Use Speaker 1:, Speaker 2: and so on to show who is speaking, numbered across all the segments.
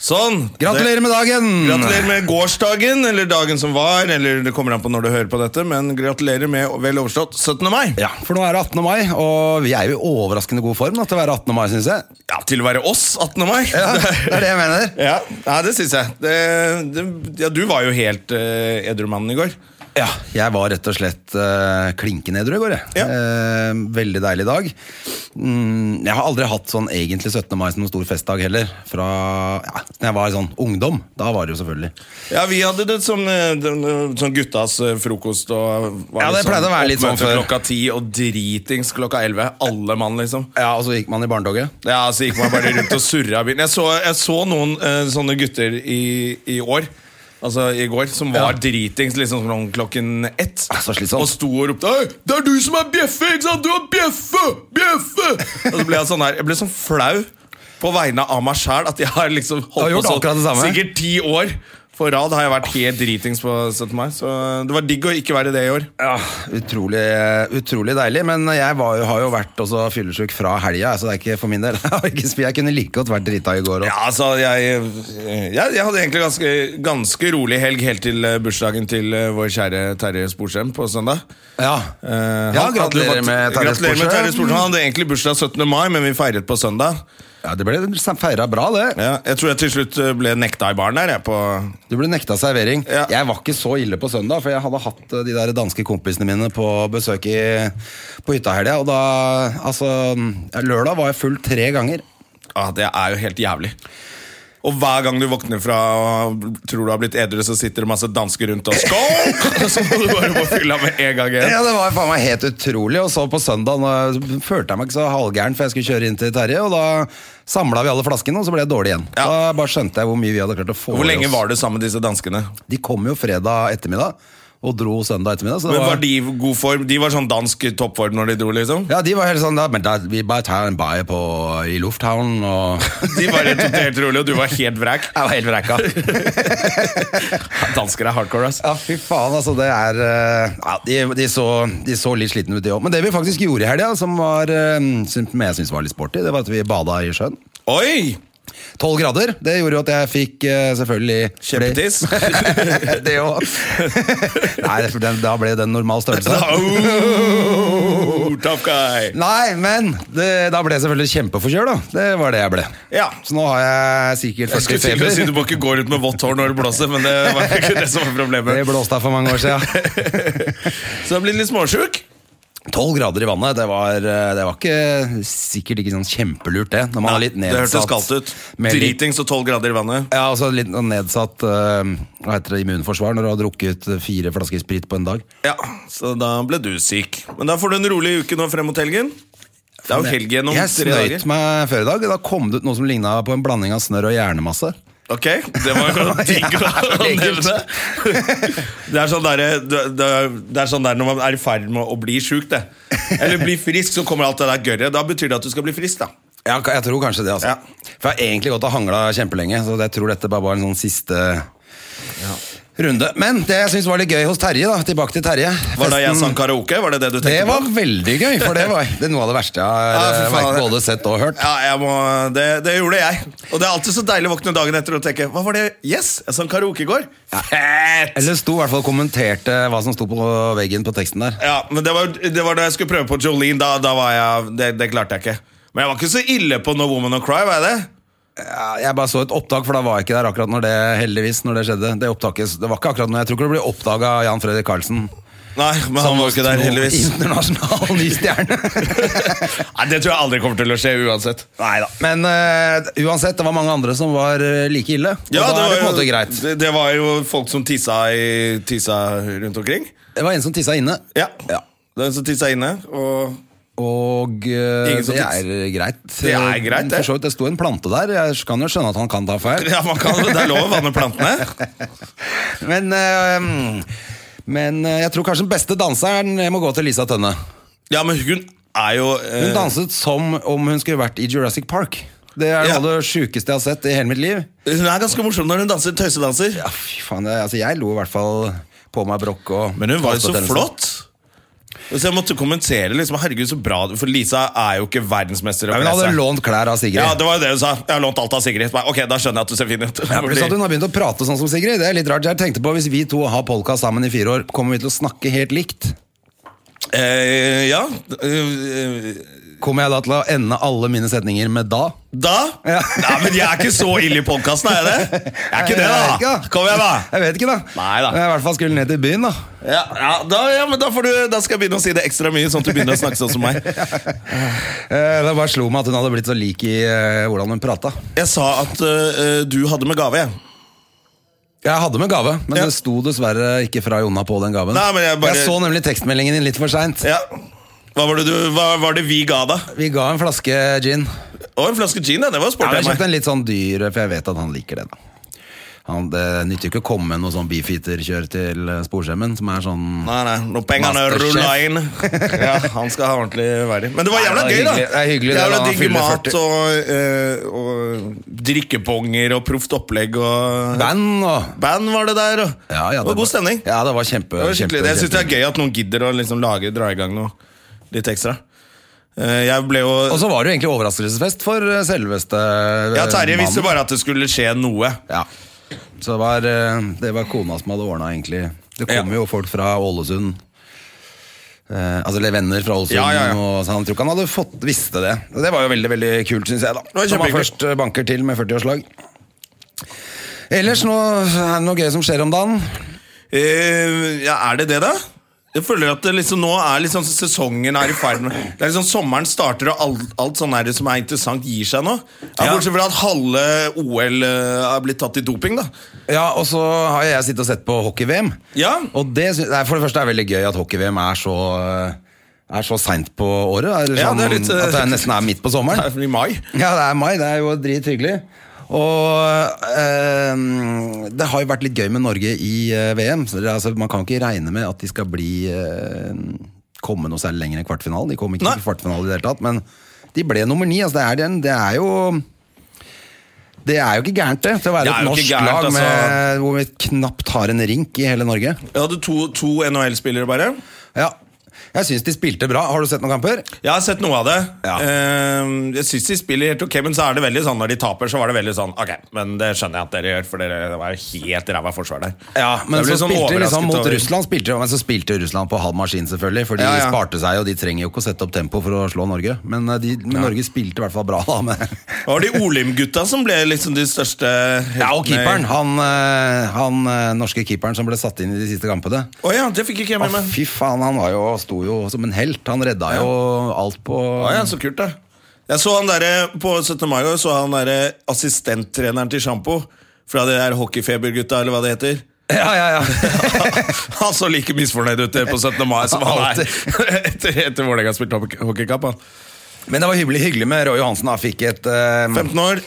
Speaker 1: Sånn.
Speaker 2: Gratulerer med dagen!
Speaker 1: Gratulerer med gårsdagen, eller dagen som var, eller det kommer an på når du hører på dette, men gratulerer med vel overstått 17. mai.
Speaker 2: Ja, for nå er det 18. mai, og vi er jo i overraskende god form da, til å være 18. mai, synes jeg.
Speaker 1: Ja, til å være oss 18. mai.
Speaker 2: Ja, det er det jeg mener.
Speaker 1: Ja, ja, det syns jeg. Det, det, ja, du var jo helt uh, edrumannen i går.
Speaker 2: Ja, jeg var rett og slett uh, klinkende edru i går. jeg.
Speaker 1: Ja.
Speaker 2: Eh, veldig deilig dag. Mm, jeg har aldri hatt sånn egentlig 17. mai som noen stor festdag heller. Fra ja, når jeg var sånn ungdom. Da var det jo selvfølgelig.
Speaker 1: Ja, vi hadde det som, eh, den, eh, sånn guttas eh, frokost og var
Speaker 2: Ja, det
Speaker 1: liksom
Speaker 2: pleide å være litt sånn
Speaker 1: oppmøte
Speaker 2: før.
Speaker 1: Klokka ti og dritings klokka elleve. Alle mann, liksom.
Speaker 2: Ja, Og så gikk man i barnetoget.
Speaker 1: Ja, så gikk man bare rundt og surra i bilen. Jeg så, jeg så noen eh, sånne gutter i, i år. Altså i går, Som var
Speaker 2: Ja.
Speaker 1: dritings liksom sånn klokken ett.
Speaker 2: Ah, så slitsomt.
Speaker 1: Og sto og ropte «Hei, 'Det er du som er bjeffe! ikke sant? Du er bjeffe! Bjeffe!' Og så ble jeg sånn her Jeg ble sånn flau på vegne av meg sjæl at jeg har liksom
Speaker 2: Du har
Speaker 1: holdt
Speaker 2: gjort akkurat det samme.
Speaker 1: sikkert ti år på rad har jeg vært helt dritings på 17. mai. Så det var digg å ikke være det i år.
Speaker 2: Ja, utrolig, utrolig deilig. Men jeg var jo, har jo vært også fyllesyk fra helga, så det er ikke for min del. Jeg, har ikke spi- jeg kunne like godt vært drita i går. også.
Speaker 1: Ja, altså, jeg, eh, jeg, jeg hadde egentlig ganske, ganske rolig helg helt til eh, bursdagen til eh, vår kjære Terje Sporsem på søndag.
Speaker 2: Ja.
Speaker 1: Eh, han-
Speaker 2: ja,
Speaker 1: han-
Speaker 2: gratulerer
Speaker 1: han-
Speaker 2: med Terje
Speaker 1: gratulerer med Terje Sporsem.
Speaker 2: Sporsem.
Speaker 1: Han hadde egentlig bursdag 17. mai, men vi feiret på søndag.
Speaker 2: Ja, det ble feira bra, det.
Speaker 1: Ja, jeg tror jeg til slutt eh, ble nekta i baren der. Jeg, på
Speaker 2: Du ble nekta servering.
Speaker 1: Ja.
Speaker 2: Jeg var ikke så ille på søndag, for jeg hadde hatt eh, de der danske kompisene mine på besøk i, på hytta i helga. Og da Altså, ja, lørdag var jeg full tre ganger.
Speaker 1: ah, det er jo helt jævlig. Og hver gang du våkner fra og tror du har blitt edru, så sitter det masse dansker rundt og skål! Så må du bare få fylla med en gang igjen.
Speaker 2: Ja, Det var faen meg helt utrolig. Og så på søndag når, jeg- følte jeg meg ikke så halvgæren, for jeg skulle kjøre inn til Terje. Og da samla vi alle flaskene, og så ble jeg dårlig igjen.
Speaker 1: Ja.
Speaker 2: Da bare skjønte jeg hvor mye vi hadde klart å få
Speaker 1: Hvor
Speaker 2: i
Speaker 1: lenge
Speaker 2: oss.
Speaker 1: var du sammen med disse danskene?
Speaker 2: De kom jo fredag ettermiddag, og dro søndag ettermiddag. Så det
Speaker 1: Men var de i god form? De var sånn dansk toppform når de dro, liksom?
Speaker 2: Ja, de var helt sånn da, men da, Vi bare tar en baie på, i lufthavnen, og
Speaker 1: De var rett og slett helt sånn rolig, og du var helt vræk.
Speaker 2: Jeg var helt vrekka.
Speaker 1: Dansker er hardcore, ass.
Speaker 2: Ja, fy faen, altså. Det er eh, ja, de, de, så, de så litt slitne ut, de òg. Men det vi faktisk gjorde i helga, som var, eh, som jeg syns var litt sporty, det var at vi bada i sjøen.
Speaker 1: Oi!
Speaker 2: 12 grader. Det gjorde jo at jeg fikk eh, selvfølgelig
Speaker 1: Kjempetiss.
Speaker 2: det òg. Nei, det- for den, da ble den normal størrelse.
Speaker 1: Au, Tough guy.
Speaker 2: Nei, men det, da ble jeg selvfølgelig kjempeforkjøla. Det var det jeg ble.
Speaker 1: Ja.
Speaker 2: Så nå har jeg sikkert
Speaker 1: Jeg skulle
Speaker 2: 40
Speaker 1: til å si
Speaker 2: feber.
Speaker 1: du må ikke gå rundt med vått hår når det blåser, men det var ikke det som var
Speaker 2: Det
Speaker 1: problemet.
Speaker 2: blåste av for mange år siden.
Speaker 1: Så du har blitt litt småsjuk?
Speaker 2: 12 grader i vannet, det var, eh, det var ikke, sikkert ikke sånn kjempelurt, det. Når man har litt
Speaker 1: det
Speaker 2: nedsatt
Speaker 1: hørtes kaldt ut.
Speaker 2: med litt-
Speaker 1: Dritings og 12 grader i vannet.
Speaker 2: Ja, altså litt nedsatt eh, hva heter det, immunforsvar når du har drukket fire flasker sprit på en dag.
Speaker 1: Ja, Så da ble du syk. Men da får du en rolig uke nå frem mot helgen. Det er jo helg igjen om
Speaker 2: Jeg
Speaker 1: tre
Speaker 2: snøyt
Speaker 1: dager.
Speaker 2: meg før i dag. Da kom det ut noe som ligna på en blanding av snørr og hjernemasse.
Speaker 1: Ok, det var jo digg å
Speaker 2: Ja,
Speaker 1: å
Speaker 2: lekkert.
Speaker 1: nevne. Det er sånn der, det, det det er sånn der når man er i ferd med å bli sjuk, det. Eller bli frisk, så kommer alt det der gørret. Da betyr det at du skal bli frisk, da.
Speaker 2: Ja, ka- jeg tror kanskje det, altså.
Speaker 1: Ja.
Speaker 2: For jeg har egentlig gått og hangla kjempelenge, så jeg tror dette bare var en sånn siste runde. Men det jeg syns var litt gøy hos Terje, da. Tilbake til Terje.
Speaker 1: Var det jeg
Speaker 2: Festen-
Speaker 1: sang karaoke? Var det det du tenkte
Speaker 2: det var
Speaker 1: på?
Speaker 2: veldig gøy, for det var det er noe av det verste jeg
Speaker 1: Ja,
Speaker 2: har
Speaker 1: fy
Speaker 2: eh,
Speaker 1: faen.
Speaker 2: hverken både sett og hørt.
Speaker 1: Ja, jeg må, det, det gjorde jeg. Og det er alltid så deilig å våkne dagen etter og tenke Hva var det? Yes, jeg sang karaoke i går. Fett!
Speaker 2: Eller sto i hvert fall og kommenterte hva som sto på veggen på teksten der.
Speaker 1: Ja, men det var, det var da jeg skulle prøve på Jolene. Da, da var jeg, det, det klarte jeg ikke. Men jeg var ikke så ille på No Woman No Cry. var jeg det?
Speaker 2: Ja, Jeg bare så et opptak, for da var jeg ikke der akkurat når det heldigvis når det skjedde. Det opptaket, det var ikke akkurat når Jeg tror ikke det ble oppdaga av Jan Fredrik Karlsen.
Speaker 1: Nei, men han var ikke der, heldigvis.
Speaker 2: Internasjonal ny stjerne.
Speaker 1: Nei, Det tror jeg aldri kommer til å skje uansett.
Speaker 2: Neida. Men eh, uansett, det var mange andre som var eh, like ille. Og da er det på en måte greit.
Speaker 1: Det, det var jo folk som tissa, i, tissa rundt omkring.
Speaker 2: Det var en som tissa inne.
Speaker 1: Ja. Det var en som tissa inne, og
Speaker 2: Og eh,
Speaker 1: Ingen som
Speaker 2: det
Speaker 1: tips.
Speaker 2: er greit.
Speaker 1: Det er greit,
Speaker 2: det.
Speaker 1: det.
Speaker 2: For så vidt, det sto en plante der. Jeg kan jo skjønne at han kan ta feil.
Speaker 1: Ja, man kan, Det er lov å vanne plantene.
Speaker 2: Men, eh, men eh, jeg tror kanskje den beste danseren må gå til Lisa Tønne.
Speaker 1: Ja, men hun er jo eh,
Speaker 2: Hun danset som om hun skulle vært i Jurassic Park. Det er
Speaker 1: Ja.
Speaker 2: noe av det sjukeste jeg har sett i hele mitt liv.
Speaker 1: Hun er ganske morsom når hun danser tøysedanser.
Speaker 2: Ja, fy faen, jeg, altså, jeg lo i hvert fall på meg brokk og
Speaker 1: Men hun var jo så
Speaker 2: halsbetennelse.
Speaker 1: flott. Så jeg måtte kommentere liksom, herregud så bra du- For Lisa er jo ikke verdensmester. i å
Speaker 2: Ja, Hun
Speaker 1: kle
Speaker 2: hadde
Speaker 1: seg.
Speaker 2: lånt klær av Sigrid.
Speaker 1: Ja, det var jo det hun sa. Jeg har lånt alt av Sigrid. Nei, Ok, da skjønner jeg at du ser fin ut.
Speaker 2: Ja, Pluss at
Speaker 1: Fordi-
Speaker 2: hun har begynt å prate sånn som Sigrid. Det er litt rart. Jeg tenkte på Hvis vi to har podkast sammen i fire år, kommer vi til å snakke helt likt?
Speaker 1: eh, ja. eh,
Speaker 2: Kommer jeg da til å ende alle mine setninger med 'da'?
Speaker 1: Da?
Speaker 2: Ja.
Speaker 1: Nei, men jeg er ikke så ille i podkasten, er jeg det? Jeg er ikke det,
Speaker 2: Jeg vet
Speaker 1: da.
Speaker 2: ikke, da.
Speaker 1: Kom igjen, da.
Speaker 2: Jeg vet ikke, da.
Speaker 1: Nei da.
Speaker 2: Men jeg i hvert fall skulle ned til byen, da.
Speaker 1: Ja, ja, da, ja men da, får du, da skal jeg begynne å si det ekstra mye, sånn at du begynner å snakke sånn som meg.
Speaker 2: Eh, Det bare slo meg at hun hadde blitt så lik i eh, hvordan hun prata.
Speaker 1: Jeg sa at eh, du hadde med gave. jeg.
Speaker 2: Jeg hadde med gave, men
Speaker 1: Ja.
Speaker 2: det sto dessverre ikke fra Jonna på den gaven.
Speaker 1: Nei, men jeg bare-
Speaker 2: så nemlig tekstmeldingen din litt for seint.
Speaker 1: Ja. Hva var det, du, hva var det vi ga, da?
Speaker 2: Vi ga en flaske gin.
Speaker 1: Å, en flaske gin, ja. Det var
Speaker 2: Ja,
Speaker 1: sporty.
Speaker 2: jeg
Speaker 1: av
Speaker 2: kjøpte
Speaker 1: meg.
Speaker 2: en litt sånn dyr, for jeg vet at han liker det. da han, Det nytter jo ikke å komme med noe sånn beefeater-kjør til eh, sporskjermen, som er sånn
Speaker 1: Nei, nei, når pengene
Speaker 2: Masterchef.
Speaker 1: rulla inn. Ja, Han skal ha ordentlig verdi. Men det var jævla
Speaker 2: Nei,
Speaker 1: gøy,
Speaker 2: det var
Speaker 1: da.
Speaker 2: hyggelig. Det er hyggelig det
Speaker 1: Jævla
Speaker 2: da han
Speaker 1: digg
Speaker 2: fyller
Speaker 1: mat
Speaker 2: 40.
Speaker 1: og, eh, og drikkeponger og proft opplegg og
Speaker 2: band og
Speaker 1: Band var det der. Og
Speaker 2: ja, ja,
Speaker 1: det var god stemning.
Speaker 2: Ja, det var kjempe,
Speaker 1: Det var skikkelig,
Speaker 2: kjempe,
Speaker 1: jeg synes det
Speaker 2: kjempe.
Speaker 1: er gøy at noen gidder å liksom lage, dra i gang noe litt ekstra. Eh, Jeg ble jo
Speaker 2: Og så var det jo egentlig overraskelsesfest for eh, selveste eh,
Speaker 1: Ja, Terje visste
Speaker 2: mannen.
Speaker 1: bare at det skulle skje noe.
Speaker 2: Ja. Så det var, eh, det var kona som hadde ordna, egentlig. Det kom
Speaker 1: Ja.
Speaker 2: jo folk fra Ålesund. Eh, altså eller venner fra Ålesund.
Speaker 1: Ja, ja, ja.
Speaker 2: Og, så han tror ikke han hadde fått, visste det. Og det var jo veldig veldig kult, syns jeg. da
Speaker 1: var
Speaker 2: Når man
Speaker 1: kjempehyggelig.
Speaker 2: først eh, banker til med 40-årslag. Ellers nå er det noe gøy som skjer om dagen.
Speaker 1: Eh, Ja, er det det, da? Jeg føler at det liksom nå er liksom sesongen er i ferd med Det er liksom Sommeren starter, og alt, alt sånn her som er interessant, gir seg nå. Ja,
Speaker 2: Ja.
Speaker 1: Bortsett fra at halve OL eh, er blitt tatt i doping, da.
Speaker 2: Ja, Og så har jeg sittet og sett på hockey-VM.
Speaker 1: Ja.
Speaker 2: Og det, sy- nei, For det første er det veldig gøy at hockey-VM er så eh, Er så seint på året. Eller
Speaker 1: Ja,
Speaker 2: sånn,
Speaker 1: det er litt, eh,
Speaker 2: at det er nesten er midt på sommeren.
Speaker 1: I mai.
Speaker 2: Ja, det er mai. Det er jo drithyggelig. Og eh, det har jo vært litt gøy med Norge i eh, VM. Så det, er altså, man kan ikke regne med at de skal bli eh, komme noe særlig lenger enn kvartfinalen. De kom ikke
Speaker 1: Nei.
Speaker 2: til kvartfinalen i det hele tatt, men de ble nummer ni. Altså, det, er den, det er jo det er jo ikke gærent, det. Til å være
Speaker 1: Det er
Speaker 2: et
Speaker 1: jo ikke
Speaker 2: norsk
Speaker 1: gærent,
Speaker 2: lag
Speaker 1: altså.
Speaker 2: med, hvor vi knapt har en rink i hele Norge.
Speaker 1: Jeg hadde to, to NHL-spillere, bare.
Speaker 2: Ja, Jeg syns de spilte bra. Har du sett noen kamper?
Speaker 1: Jeg har sett noe av det.
Speaker 2: Ja.
Speaker 1: Eh, jeg syns de spiller helt ok, men så er det veldig sånn når de taper, så var det veldig sånn Ok, men det skjønner jeg at dere gjør, for dere var jo helt ræva forsvar der.
Speaker 2: Ja, men
Speaker 1: Jeg
Speaker 2: så
Speaker 1: ble sånn
Speaker 2: spilte de liksom
Speaker 1: overrasket
Speaker 2: mot
Speaker 1: over-
Speaker 2: Russland spilte, Men så spilte Russland på halv maskin selvfølgelig For de
Speaker 1: Ja, ja.
Speaker 2: sparte seg, og de trenger jo ikke å sette opp tempo For å slå Norge Men, eh, de, men Norge spilte i hvert fall bra da men-
Speaker 1: Det var de Olim-gutta som ble liksom de største
Speaker 2: Ja, og keeperen han, eh, han eh, norske keeperen som ble satt inn i de siste kampene
Speaker 1: Å ja, det fikk ikke jeg
Speaker 2: Å,
Speaker 1: med meg.
Speaker 2: Fy faen, han var jo, sto jo som en helt Han redda jo alt på
Speaker 1: Å ja, så kult, da. Jeg så han derre på 17. mai i år, så han derre assistenttreneren til Sjampo. Fra de der hockeyfebergutta, eller hva det heter.
Speaker 2: Ja, ja, ja
Speaker 1: Han så like misfornøyd ut eh, på 17. mai som han er etter, etter Vålerenga spilte hockeykamp. han.
Speaker 2: Men det var hyggelig, hyggelig med Roy Johansen da Fikk et eh,
Speaker 1: 15 år.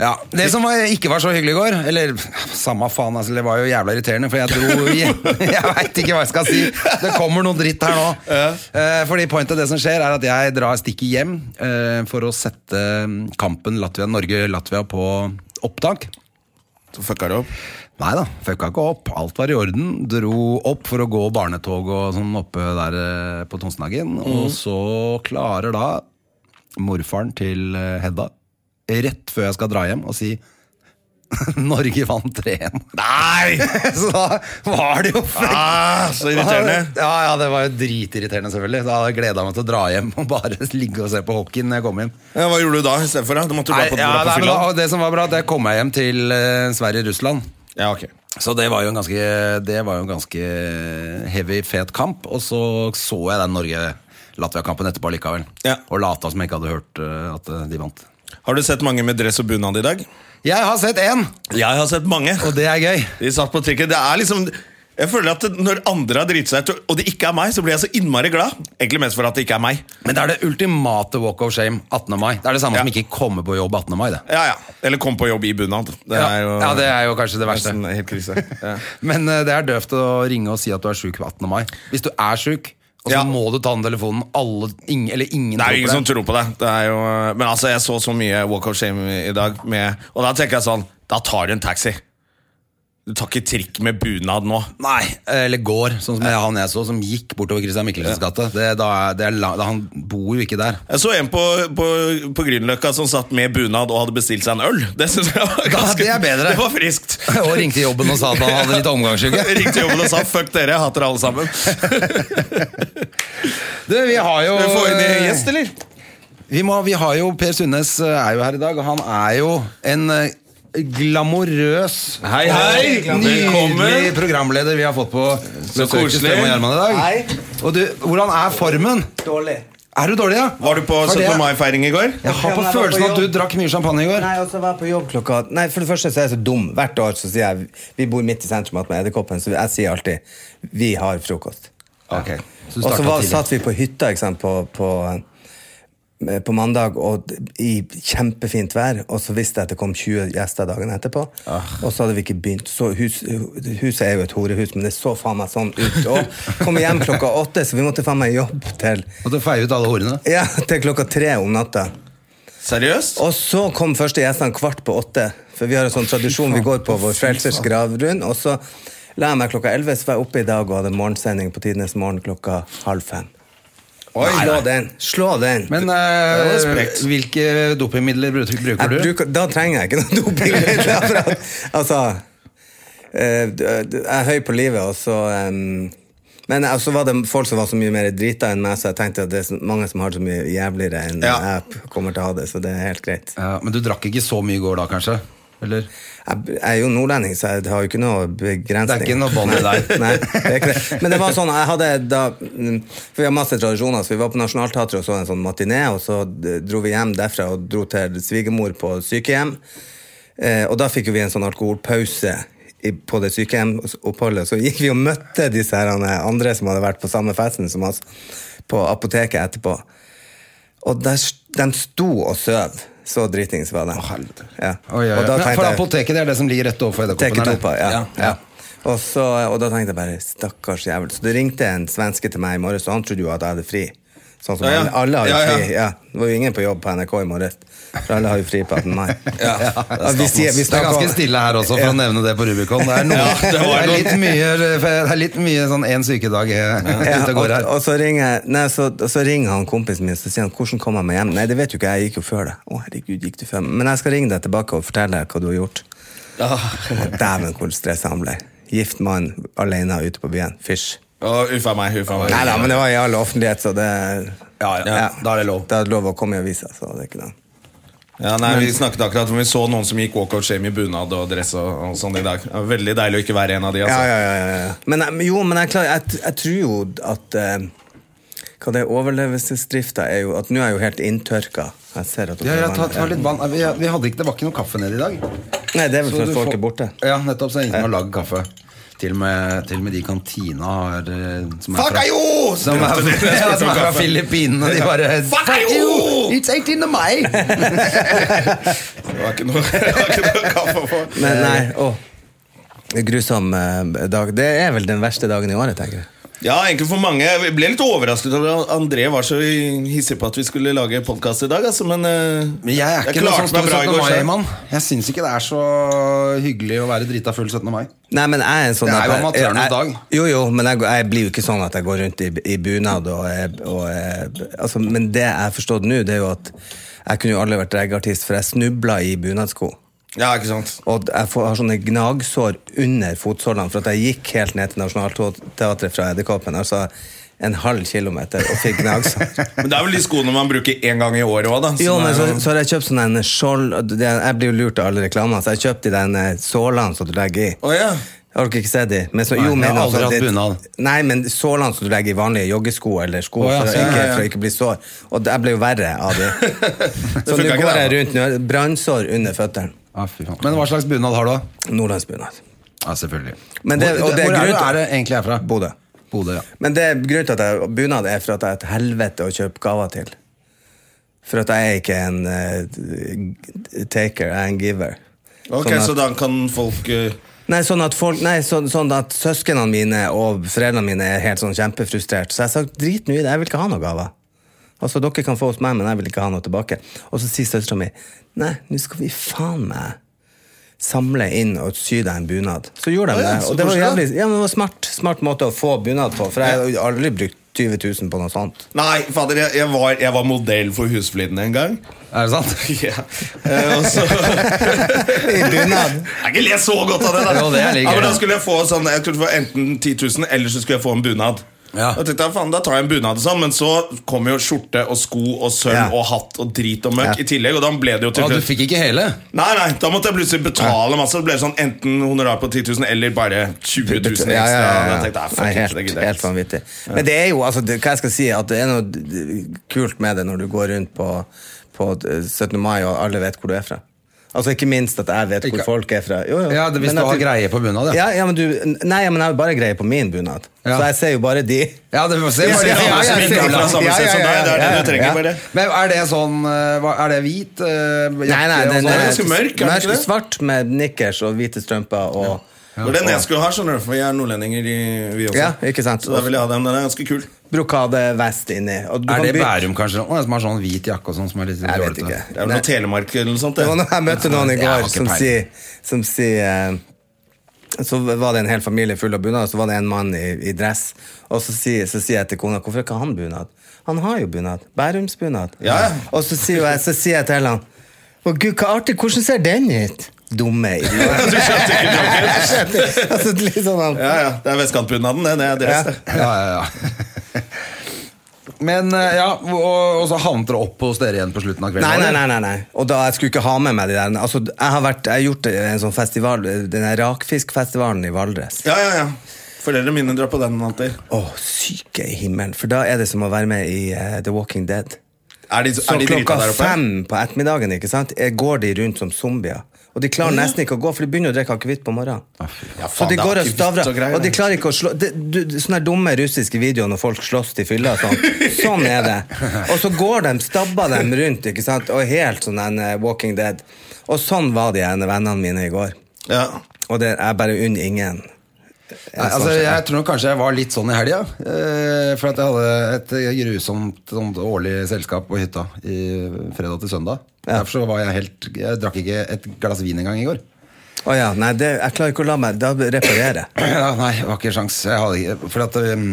Speaker 2: Ja, Det som var, ikke var så hyggelig i går, eller samme faen, altså, det var jo jævla irriterende, for jeg dro Jeg, jeg veit ikke hva jeg skal si. Det kommer noe dritt her nå. Eh, fordi pointet det som skjer, er at jeg drar stikker hjem eh, for å sette mm, kampen Latvia-Norge-Latvia på opptak.
Speaker 1: Så fucka det opp.
Speaker 2: Nei da, fucka ikke opp. Alt var i orden. Dro opp for å gå barnetog og sånn oppe der eh, på Tonsenhagen.
Speaker 1: Mhm.
Speaker 2: Og så klarer da morfaren til eh, Hedda, rett før jeg skal dra hjem, å si Norge vant 3-1.
Speaker 1: Nei!
Speaker 2: Så da var det jo fuck.
Speaker 1: Ah, så irriterende.
Speaker 2: Ja, ja, det var jo dritirriterende, selvfølgelig. Da hadde jeg gleda meg til å dra hjem og bare ligge og se på hockey når jeg kom hjem.
Speaker 1: Ja, hva gjorde du da istedenfor? Da? Du måtte du bare
Speaker 2: Nei,
Speaker 1: på,
Speaker 2: ja,
Speaker 1: dra på
Speaker 2: nei, men
Speaker 1: fylla?
Speaker 2: da, og det som var bra, det kom jeg hjem til eh, Sverige-Russland.
Speaker 1: Ja, ok.
Speaker 2: Så det var jo en ganske, det var jo en ganske heavy, fet kamp. Og så så jeg den Norge-Latvia-kampen etterpå likevel.
Speaker 1: Ja.
Speaker 2: Og lata som jeg ikke hadde hørt eh, at eh, de vant.
Speaker 1: Har du sett mange med dress og bunad i dag?
Speaker 2: Jeg har sett én,
Speaker 1: Jeg har sett mange.
Speaker 2: og det er gøy.
Speaker 1: De satt på trikken. Det er liksom Jeg føler at Når andre har driti seg ut, og det ikke er meg, så blir jeg så innmari glad. Egentlig mest for at det ikke er meg.
Speaker 2: Men det er det ultimate walk of shame 18. mai. Det er det samme
Speaker 1: Ja.
Speaker 2: som ikke kommer på jobb 18. mai. Det.
Speaker 1: Ja, ja. Eller kom på jobb i bunad. Det
Speaker 2: Ja.
Speaker 1: er jo,
Speaker 2: Ja, det er jo kanskje det verste.
Speaker 1: nesten helt krise. Ja.
Speaker 2: Men eh, det er døvt å ringe og si at du er sjuk på 18. mai. Hvis du er sjuk, og så
Speaker 1: Ja.
Speaker 2: må du ta den telefonen. Alle, ingen, eller ingen
Speaker 1: Det er
Speaker 2: tror på
Speaker 1: jo ingen som
Speaker 2: deg.
Speaker 1: tror på det. det er jo, men altså, jeg så så mye walk of shame i- i dag, med, og da tenker jeg sånn Da tar du en taxi. Du tar ikke trikk med bunad nå.
Speaker 2: Nei, eller går, sånn som jeg, han jeg så, som gikk bortover Christian Michelsens gate. Det, da, er- det er lang, da, han bor jo ikke der.
Speaker 1: Jeg så en på, på, på Grünerløkka som satt med bunad og hadde bestilt seg en øl. Det synes jeg var ganske
Speaker 2: det er bedre.
Speaker 1: Det var friskt.
Speaker 2: Og ringte jobben og sa at han hadde litt omgangssyke.
Speaker 1: Ringte jobben og sa 'fuck dere, jeg hater alle sammen'.
Speaker 2: Du, vi har jo
Speaker 1: Skal vi få inn en gjest, eller?
Speaker 2: Vi, må, vi har jo Per Sundnes eh, er jo her i dag, og han er jo en eh, glamorøs eh,
Speaker 1: Hei, hei!
Speaker 2: Nydelig
Speaker 1: Velkommen.
Speaker 2: programleder vi har fått på
Speaker 1: Så
Speaker 2: besøk til
Speaker 1: koselig.
Speaker 2: Strøm og Gjerman i dag. Og du, hvordan er formen?
Speaker 3: Dårlig.
Speaker 2: Er du dårlig, ja?
Speaker 1: Var du på
Speaker 2: Har
Speaker 1: 17.
Speaker 2: det-
Speaker 1: mai-feiring i går?
Speaker 2: Jeg har på
Speaker 3: Jeg var på
Speaker 2: følelsen at du
Speaker 3: jobb.
Speaker 2: drakk mye champagne i går.
Speaker 3: Nei, altså, vær på jobb klokka Nei, for det første så er jeg så dum. Hvert år så sier jeg Vi bor midt i sentrum med Edderkoppen, så jeg sier alltid Vi har frokost.
Speaker 2: Ok, så du
Speaker 3: Og så
Speaker 2: startet
Speaker 3: var,
Speaker 2: tidlig.
Speaker 3: satt vi på hytta ikke sant, på, på, eh, på mandag og d- i kjempefint vær, og så visste jeg at det kom 20 gjester dagen etterpå.
Speaker 2: Ah.
Speaker 3: Og så hadde vi ikke begynt. Så hus, huset er jo et horehus, men det så faen meg sånn ut. Og kom hjem klokka åtte, så vi måtte faen meg jobbe til,
Speaker 2: Og du feier ut alle horene.
Speaker 3: ja, til klokka tre om natta.
Speaker 1: Seriøst?
Speaker 3: Og så kom første gjestene kvart på åtte. For vi har en sånn tradisjon. Vi går på vår frelsers gravrund. Og så la jeg meg klokka elleve, så var jeg oppe i dag og hadde morgensending på Tidenes morgen klokka halv fem. Slå den! Slå den!
Speaker 2: Men
Speaker 3: Det var
Speaker 2: eh,
Speaker 3: sprekt.
Speaker 2: hvilke dopingmidler bruk-
Speaker 3: jeg
Speaker 2: bruker du?
Speaker 3: bruker, da trenger jeg ikke noe dopingmiddel. for at- altså eh, d- d- Jeg er høy på livet, og så em, men eh, så var det folk som var så mye mer drita enn meg, så jeg tenkte at det er så mange som har det så mye jævligere enn
Speaker 1: Ja.
Speaker 3: jeg kommer til å ha det. Så det er helt greit.
Speaker 2: Ja, men du drakk ikke så mye i går da, kanskje? Eller?
Speaker 3: Jeg jeg er jo nordlending, så jeg har jo ikke noe begrensning.
Speaker 2: Det er ikke noe bånd i
Speaker 3: Nei,
Speaker 2: deg.
Speaker 3: Nei, det er ikke det. Men det var sånn, jeg hadde da mm, For vi har masse tradisjoner, så vi var på Nationaltheatret og så en sånn matiné, og så d- dro vi hjem derfra og dro til svigermor på sykehjem. Eh, og da fikk jo vi en sånn alkoholpause i, på det sykehjemoppholdet. Så gikk vi og møtte disse her andre som hadde vært på samme festen som oss, på apoteket etterpå. Og der, de sto og søv. Så dritings var det. Ja.
Speaker 2: Oi, oi, oi.
Speaker 3: Og da
Speaker 2: Men
Speaker 3: tenkte
Speaker 2: For
Speaker 3: jeg-
Speaker 2: apoteket det er det som ligger rett overfor edderkoppen?
Speaker 3: Teke
Speaker 2: eller?
Speaker 3: topa, ja.
Speaker 2: ja.
Speaker 3: ja. Og, så, og da tenkte jeg bare stakkars jævel. Så det ringte en svenske til meg i morges, og han trodde jo at jeg hadde fri. Sånn som
Speaker 1: Ja, ja.
Speaker 3: alle, alle har jo
Speaker 1: Ja, ja.
Speaker 3: fri. Ja. Det var jo ingen på jobb på NRK i morges, for alle har jo fri på 18. mai.
Speaker 2: Ja,
Speaker 3: Ja, vi sier-
Speaker 2: det
Speaker 3: vi
Speaker 2: er
Speaker 3: snakker om-
Speaker 2: ganske stille her også, for å nevne det på Rubicon. Det er, noe,
Speaker 1: Ja,
Speaker 2: det
Speaker 1: det var
Speaker 2: er
Speaker 1: noe.
Speaker 2: litt mye, det er litt mye sånn én sykedag eh,
Speaker 3: Ja,
Speaker 2: ute og
Speaker 3: og,
Speaker 2: går her.
Speaker 3: og så ringer nei, så, og så ringer han kompisen min Så sier han, hvordan kom jeg meg hjem. Nei, det vet jo ikke, jeg gikk jo før det. Å, herregud, gikk du før meg? Men jeg skal ringe deg tilbake og fortelle deg hva du har gjort. Og Dæven, hvor stressa han ble. Gift mann alene ute på byen. Fysj.
Speaker 1: Å, Uff a meg. uff a meg.
Speaker 3: Nei da, men det var i all offentlighet, så det
Speaker 2: Ja, ja, da er det lov.
Speaker 3: Da er det lov å komme i avisa, så det er ikke noe.
Speaker 1: Ja, nei, Vi snakket akkurat om vi så noen som gikk walkout shame i bunad og dress. og, og sånn i dag Det var Veldig deilig å ikke være en av de.
Speaker 3: Ja,
Speaker 1: altså
Speaker 3: ja, ja, ja, ja. Men jeg- jo, men jeg, klarer, jeg, jeg tror jo at eh, Hva det er overlevelsesdrifta er jo At nå er jeg jo helt inntørka. Jeg ser at
Speaker 2: Ja, ja, ta, ta litt vann. Vi, vi hadde ikke, det var ikke noe kaffe nede i dag.
Speaker 3: Nei, det er vel
Speaker 2: Så
Speaker 3: for
Speaker 2: du
Speaker 3: at folk
Speaker 2: får-
Speaker 3: er borte.
Speaker 2: Ja, nettopp. Så er det ingen som har lagd kaffe. Til og, med, til og med de i kantina har eh, som
Speaker 1: Fuck you!
Speaker 2: som er, ja, som er fra Filippinene. De bare
Speaker 1: Fuck you!
Speaker 2: It's 18 of May!
Speaker 1: Det var ikke noe, det var ikke noe kaffe å få.
Speaker 3: Men nei, å. Grusom eh, dag. Det er vel den verste dagen i året, tenker jeg.
Speaker 1: Ja, egentlig for mange. Jeg ble litt overrasket over at André var så hissig på at vi skulle lage podkast i dag, altså, men eh,
Speaker 2: Men jeg er ikke
Speaker 1: jeg
Speaker 2: noe sånn
Speaker 1: klarte
Speaker 2: stor
Speaker 1: meg bra i
Speaker 2: 17.
Speaker 1: går. så-
Speaker 2: mai-mann. Jeg syns ikke det er så hyggelig å være drita full 17. mai.
Speaker 3: Nei, men jeg er en sånn
Speaker 2: Det er jo
Speaker 3: at jeg-
Speaker 2: amatørene i
Speaker 3: jeg-
Speaker 2: dag.
Speaker 3: Jo, jo, men jeg, går- jeg blir jo ikke sånn at jeg går rundt i, i bunad og, er- og er- altså, Men det jeg har forstått nå, det er jo at jeg kunne jo aldri vært reggeartist, for jeg snubla i bunadsko.
Speaker 1: Ja, ikke sant
Speaker 3: Og jeg får, har sånne gnagsår under fotsålene for at jeg gikk helt ned til Nationaltheatret fra Edderkoppen. Altså en halv kilometer og fikk gnagsår.
Speaker 1: Men det er vel de skoene man bruker én gang i året òg, da. som
Speaker 3: Jo, men
Speaker 1: er-
Speaker 3: så, så har jeg kjøpt sånn en skjold det- Jeg blir jo lurt av alle reklamene, så jeg har kjøpt de den sålene som du legger i.
Speaker 1: Å, ja.
Speaker 3: Jeg orker ikke se de. Men så,
Speaker 2: Nei,
Speaker 3: jo,
Speaker 2: jeg
Speaker 3: men
Speaker 2: har aldri
Speaker 3: altså,
Speaker 2: hatt
Speaker 3: det-
Speaker 2: bunad.
Speaker 3: Nei, men sålene som du legger i vanlige joggesko eller sko
Speaker 2: Å, ja,
Speaker 3: for, å
Speaker 2: sånn,
Speaker 3: ikke,
Speaker 2: ja, ja.
Speaker 3: for å ikke bli sår. Og det- jeg ble jo verre av det. så
Speaker 1: funker
Speaker 3: nå
Speaker 1: ikke
Speaker 3: går
Speaker 1: det,
Speaker 3: jeg rundt nå. Brannsår under føttene.
Speaker 2: Ah, fy faen. Men hva slags bunad har du? da?
Speaker 3: Nordlandsbunad.
Speaker 2: Ja, selvfølgelig.
Speaker 3: Men det-
Speaker 2: hvor,
Speaker 3: og det er
Speaker 2: hvor er, du,
Speaker 3: grunn-
Speaker 2: er det egentlig herfra?
Speaker 3: Bodø.
Speaker 2: Bodø, ja.
Speaker 3: Men det er grunnen til at jeg bunad er for at jeg er et helvete å kjøpe gaver til. For at jeg er ikke en eh, taker, jeg er en giver.
Speaker 1: Ok,
Speaker 3: Sånn at-
Speaker 1: Så da kan folk eh,
Speaker 3: Nei, sånn at, folk, nei, så, sånn at søskene mine og foreldrene mine er helt sånn kjempefrustrert. Så jeg sa drit nå i det, jeg vil ikke ha noen gaver. Altså, dere kan få hos meg, men jeg vil ikke ha noe tilbake. Og så sier søstera mi nei, nå skal vi faen meg samle inn og sy deg en bunad. Så gjorde
Speaker 1: Å
Speaker 3: de
Speaker 1: ja,
Speaker 3: det.
Speaker 1: så
Speaker 3: Og det var
Speaker 1: koselig.
Speaker 3: jævlig ja, men det var smart, smart måte å få bunad på, for jeg har jo aldri brukt 20 000 på noe sånt.
Speaker 1: Nei, fader, jeg, jeg, var, jeg var modell for Husfliden en gang.
Speaker 2: Er det sant?
Speaker 1: Ja. Eh, og så
Speaker 3: I bunad.
Speaker 1: Jeg kan ikke le så godt av det! Da.
Speaker 2: Jo, det er litt
Speaker 1: ja, men
Speaker 2: gøy.
Speaker 1: da skulle jeg få sånn Jeg kunne få enten 10 000, eller så skulle jeg få en bunad.
Speaker 2: Ja.
Speaker 1: Da tenkte jeg, faen, da tar jeg en bunad og sånn, Men så kom jo skjorte og sko og sølv
Speaker 3: Ja.
Speaker 1: og hatt og drit og møkk
Speaker 3: Ja.
Speaker 1: i tillegg. Og da ble det jo
Speaker 2: Å,
Speaker 1: til
Speaker 2: du fikk ikke hele?
Speaker 1: Nei, nei, da måtte jeg plutselig betale masse. Det ble sånn enten honorar på 10 000 eller bare 20 000 ekstra.
Speaker 3: Ja, ja, ja, ja.
Speaker 1: Da tenkte jeg, fuck
Speaker 3: Nei,
Speaker 1: it,
Speaker 3: helt,
Speaker 1: det gidder jeg
Speaker 3: helt sånn.
Speaker 1: ikke.
Speaker 3: vanvittig. Men det er jo altså, det, hva jeg skal si, at det er noe d- d- kult med det når du går rundt på, på d- 17. mai og alle vet hvor du er fra. Altså Ikke minst at jeg vet hvor
Speaker 2: Ikke-
Speaker 3: folk er fra. Jo, jo.
Speaker 2: Ja, det- hvis
Speaker 3: Men
Speaker 2: du
Speaker 3: at
Speaker 2: har greie på bunad, ja.
Speaker 3: ja. ja, men du, Nei, ja, men jeg har bare greie på min bunad.
Speaker 2: Ja.
Speaker 3: Så jeg ser jo bare de.
Speaker 2: Ja, det var
Speaker 1: Jeg ser
Speaker 3: Ja, ja,
Speaker 1: alle
Speaker 3: ja,
Speaker 1: som ikke
Speaker 3: ja,
Speaker 1: er fra samme
Speaker 3: ja,
Speaker 1: sted
Speaker 3: ja,
Speaker 1: som
Speaker 3: ja,
Speaker 1: deg. Det er det
Speaker 3: ja,
Speaker 1: du trenger,
Speaker 3: ja.
Speaker 1: bare.
Speaker 2: Men er det sånn eh, hva- Er det hvit? eh,
Speaker 3: Nei, nei,
Speaker 2: jakke og
Speaker 3: den
Speaker 2: sånn?
Speaker 1: er ganske mørk, er den ikke det?
Speaker 3: svart med nikkers og hvite strømper og
Speaker 1: Det var den jeg skulle ha, skjønner du, for vi er nordlendinger, i- vi også.
Speaker 3: Ja, ikke sant.
Speaker 1: Så da vil jeg ha den. Den er ganske kul.
Speaker 3: brokadevest inni. Og du
Speaker 2: Er
Speaker 3: kan
Speaker 2: det
Speaker 3: bytte-
Speaker 2: Bærum, kanskje? Å, som har sånn hvit jakke og sånn? Som er litt
Speaker 3: Jeg vet
Speaker 2: jålete.
Speaker 3: ikke.
Speaker 1: Det er vel noe Telemark eller noe sånt.
Speaker 3: Det var noe, jeg møtte noen i
Speaker 2: Jeg har
Speaker 3: går
Speaker 2: ikke
Speaker 3: som
Speaker 2: peiling.
Speaker 3: sier, som sier eh, Så var det en hel familie full av bunad, og så var det en mann i, i dress. Og så sier, så sier jeg til kona hvorfor har ikke han bunad? Han har jo bunad. Bærumsbunad.
Speaker 1: Ja, ja.
Speaker 3: Og så sier, jeg, så sier jeg til han Å gud, hva artig, hvordan ser den ut? Dumme idiot.
Speaker 1: Du skjønte ikke joken?
Speaker 3: Jeg skjønner. altså, litt sånn, han-
Speaker 1: Ja, ja. Det er vestkantbunaden, det. Det er deres, det.
Speaker 2: Ja, ja, ja. Men eh, ja, og, og så havnet dere opp hos dere igjen på slutten av kvelden?
Speaker 3: Nei, nei,
Speaker 2: eller?
Speaker 3: nei, nei, nei. Og da jeg skulle ikke ha med meg de der altså, jeg, har vært, jeg har gjort en sånn festival, den der rakfiskfestivalen i Valdres.
Speaker 1: Ja, ja, ja. Foreldrene mine drar på den alltid.
Speaker 3: Åh, syke i himmelen. For da er det som å være med i eh, The Walking Dead.
Speaker 1: Er de,
Speaker 3: Så
Speaker 1: er de
Speaker 3: klokka
Speaker 1: drita der oppe?
Speaker 3: fem på ettermiddagen ikke sant? eh, går de rundt som zombier. Og de klarer nesten ikke å gå, for de begynner å drikke akevitt på morgenen.
Speaker 1: Ja,
Speaker 3: Så
Speaker 1: faen,
Speaker 3: de
Speaker 1: det er
Speaker 3: går og
Speaker 1: akevitt
Speaker 3: stavrer,
Speaker 1: og greier,
Speaker 3: og de
Speaker 1: det.
Speaker 3: klarer ikke å slå det, du, du- Sånne her dumme russiske videoer når folk slåss til fylla og sånn. Sånn er det. Og så går de, stabber dem rundt, ikke sant? Og helt sånn en eh, Walking Dead. Og sånn var de ene vennene mine i går.
Speaker 1: Ja.
Speaker 3: Og det er bare unn ingen. en
Speaker 2: Nei, altså,
Speaker 3: sånn-
Speaker 2: jeg tror nok kanskje jeg var litt sånn i helga. Eh, for at jeg hadde et grusomt sånt årlig selskap på hytta i fredag til søndag. Derfor så var jeg helt Jeg drakk ikke et glass vin engang i går.
Speaker 3: Å ja, nei, det, jeg klarer ikke å la meg Da reparerer jeg.
Speaker 2: Ja, nei, det var ikke sjans. Jeg hadde ikke For at um,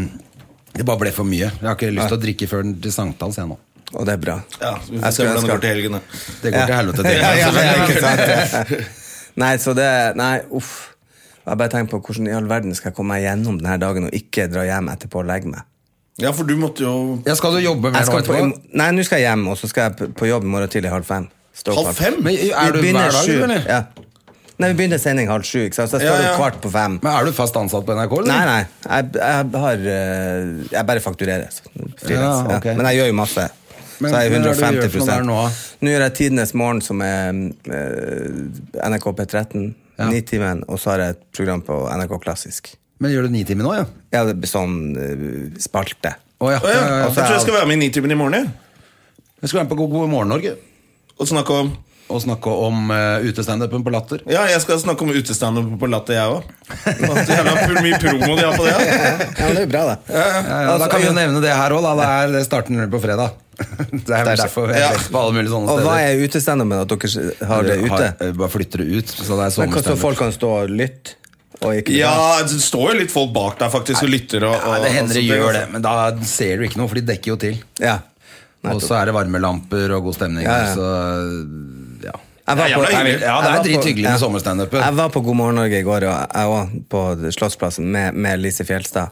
Speaker 2: det bare ble for mye. Jeg har ikke lyst til å drikke før den til sankthans, jeg nå.
Speaker 3: Og det er bra.
Speaker 1: ja vi får
Speaker 3: Jeg
Speaker 1: se hvordan det
Speaker 3: skulle ønske
Speaker 1: går til
Speaker 3: at-
Speaker 1: helgen, da.
Speaker 2: Det går til helvete til.
Speaker 3: Ja, ja, ja, ikke sant? Nei, så det Nei, uff. Jeg bare tenker på hvordan i all verden skal jeg komme meg gjennom denne dagen og ikke dra hjem etterpå og legge meg.
Speaker 1: Ja, for du måtte jo
Speaker 2: Ja, skal du jobbe
Speaker 3: Jeg
Speaker 2: mer nå
Speaker 3: skal på,
Speaker 2: etterpå?
Speaker 3: nei, nå skal jeg hjem, og så skal jeg på- på jobb i morgen tidlig halv fem. Stå
Speaker 1: Halv
Speaker 3: opp.
Speaker 1: fem?
Speaker 2: Men
Speaker 3: Vi
Speaker 2: er du
Speaker 3: begynner
Speaker 2: hver dag,
Speaker 3: sju,
Speaker 2: eller?
Speaker 3: Ja. Nei, vi begynner sending halv sju, ikke sant? så jeg
Speaker 1: Ja,
Speaker 3: står
Speaker 1: ja.
Speaker 3: jo kvart på fem.
Speaker 2: Men er du fast ansatt på NRK? eller?
Speaker 3: Nei, nei. Jeg, jeg har eh, Jeg bare fakturerer. så frilans,
Speaker 2: Ja, ok.
Speaker 3: Men jeg gjør jo masse.
Speaker 2: Men
Speaker 3: så jeg er
Speaker 2: hva er det du
Speaker 3: 150
Speaker 2: gjør for noe der nå, da?
Speaker 3: Nå gjør jeg Tidenes morgen, som er eh, NRK P13.
Speaker 2: Ja.
Speaker 3: Nitimen. Og så har jeg et program på NRK Klassisk.
Speaker 2: Men gjør du ni timer nå, ja?
Speaker 3: Ja, det blir sånn eh, spalte.
Speaker 2: Å ja.
Speaker 1: Å, ja.
Speaker 2: ja, ja,
Speaker 1: Jeg
Speaker 2: ja.
Speaker 1: tror jeg skal være med i Nitimen i morgen. jeg.
Speaker 2: Jeg skal være med på God morgen Norge
Speaker 1: Og snakke om
Speaker 2: og snakke om uh, utestandupen på Latter.
Speaker 1: Ja, jeg skal snakke om utestanden på Latter, jeg òg. Jævla pur- mye promo de har på det. Ja.
Speaker 3: Ja, men det er jo bra, Altså, det.
Speaker 2: Ja, ja, da kan vi jo nevne det her òg, da. Det, er, det starter nå på fredag. Det er vel derfor jeg
Speaker 1: Ja.
Speaker 2: er på alle mulige sånne
Speaker 3: Og
Speaker 2: steder.
Speaker 3: hva er utestandupen? At dere har det ute?
Speaker 2: Har- eh, Bare flytter det ut. Så det er
Speaker 3: Men hva så
Speaker 2: sommerstandup.
Speaker 3: folk kan stå og lytte? Og ikke
Speaker 1: ja, det står jo litt folk bak der faktisk og lytter. Og,
Speaker 2: Ja, det hender det
Speaker 1: og-
Speaker 2: gjør det, men da ser du ikke noe, for de dekker jo til.
Speaker 3: Ja.
Speaker 2: Og så er det varmelamper og god stemning.
Speaker 3: Ja, ja.
Speaker 2: Så ja.
Speaker 3: Jeg
Speaker 1: Det er jævla hyggelig.
Speaker 2: Ja, det
Speaker 3: jeg
Speaker 2: er
Speaker 3: var på-
Speaker 2: drithyggelig med
Speaker 3: ja.
Speaker 2: sommerstandupen.
Speaker 3: Jeg var på God morgen Norge i går, og jeg òg, på Slottsplassen, med, med Lise Fjelstad.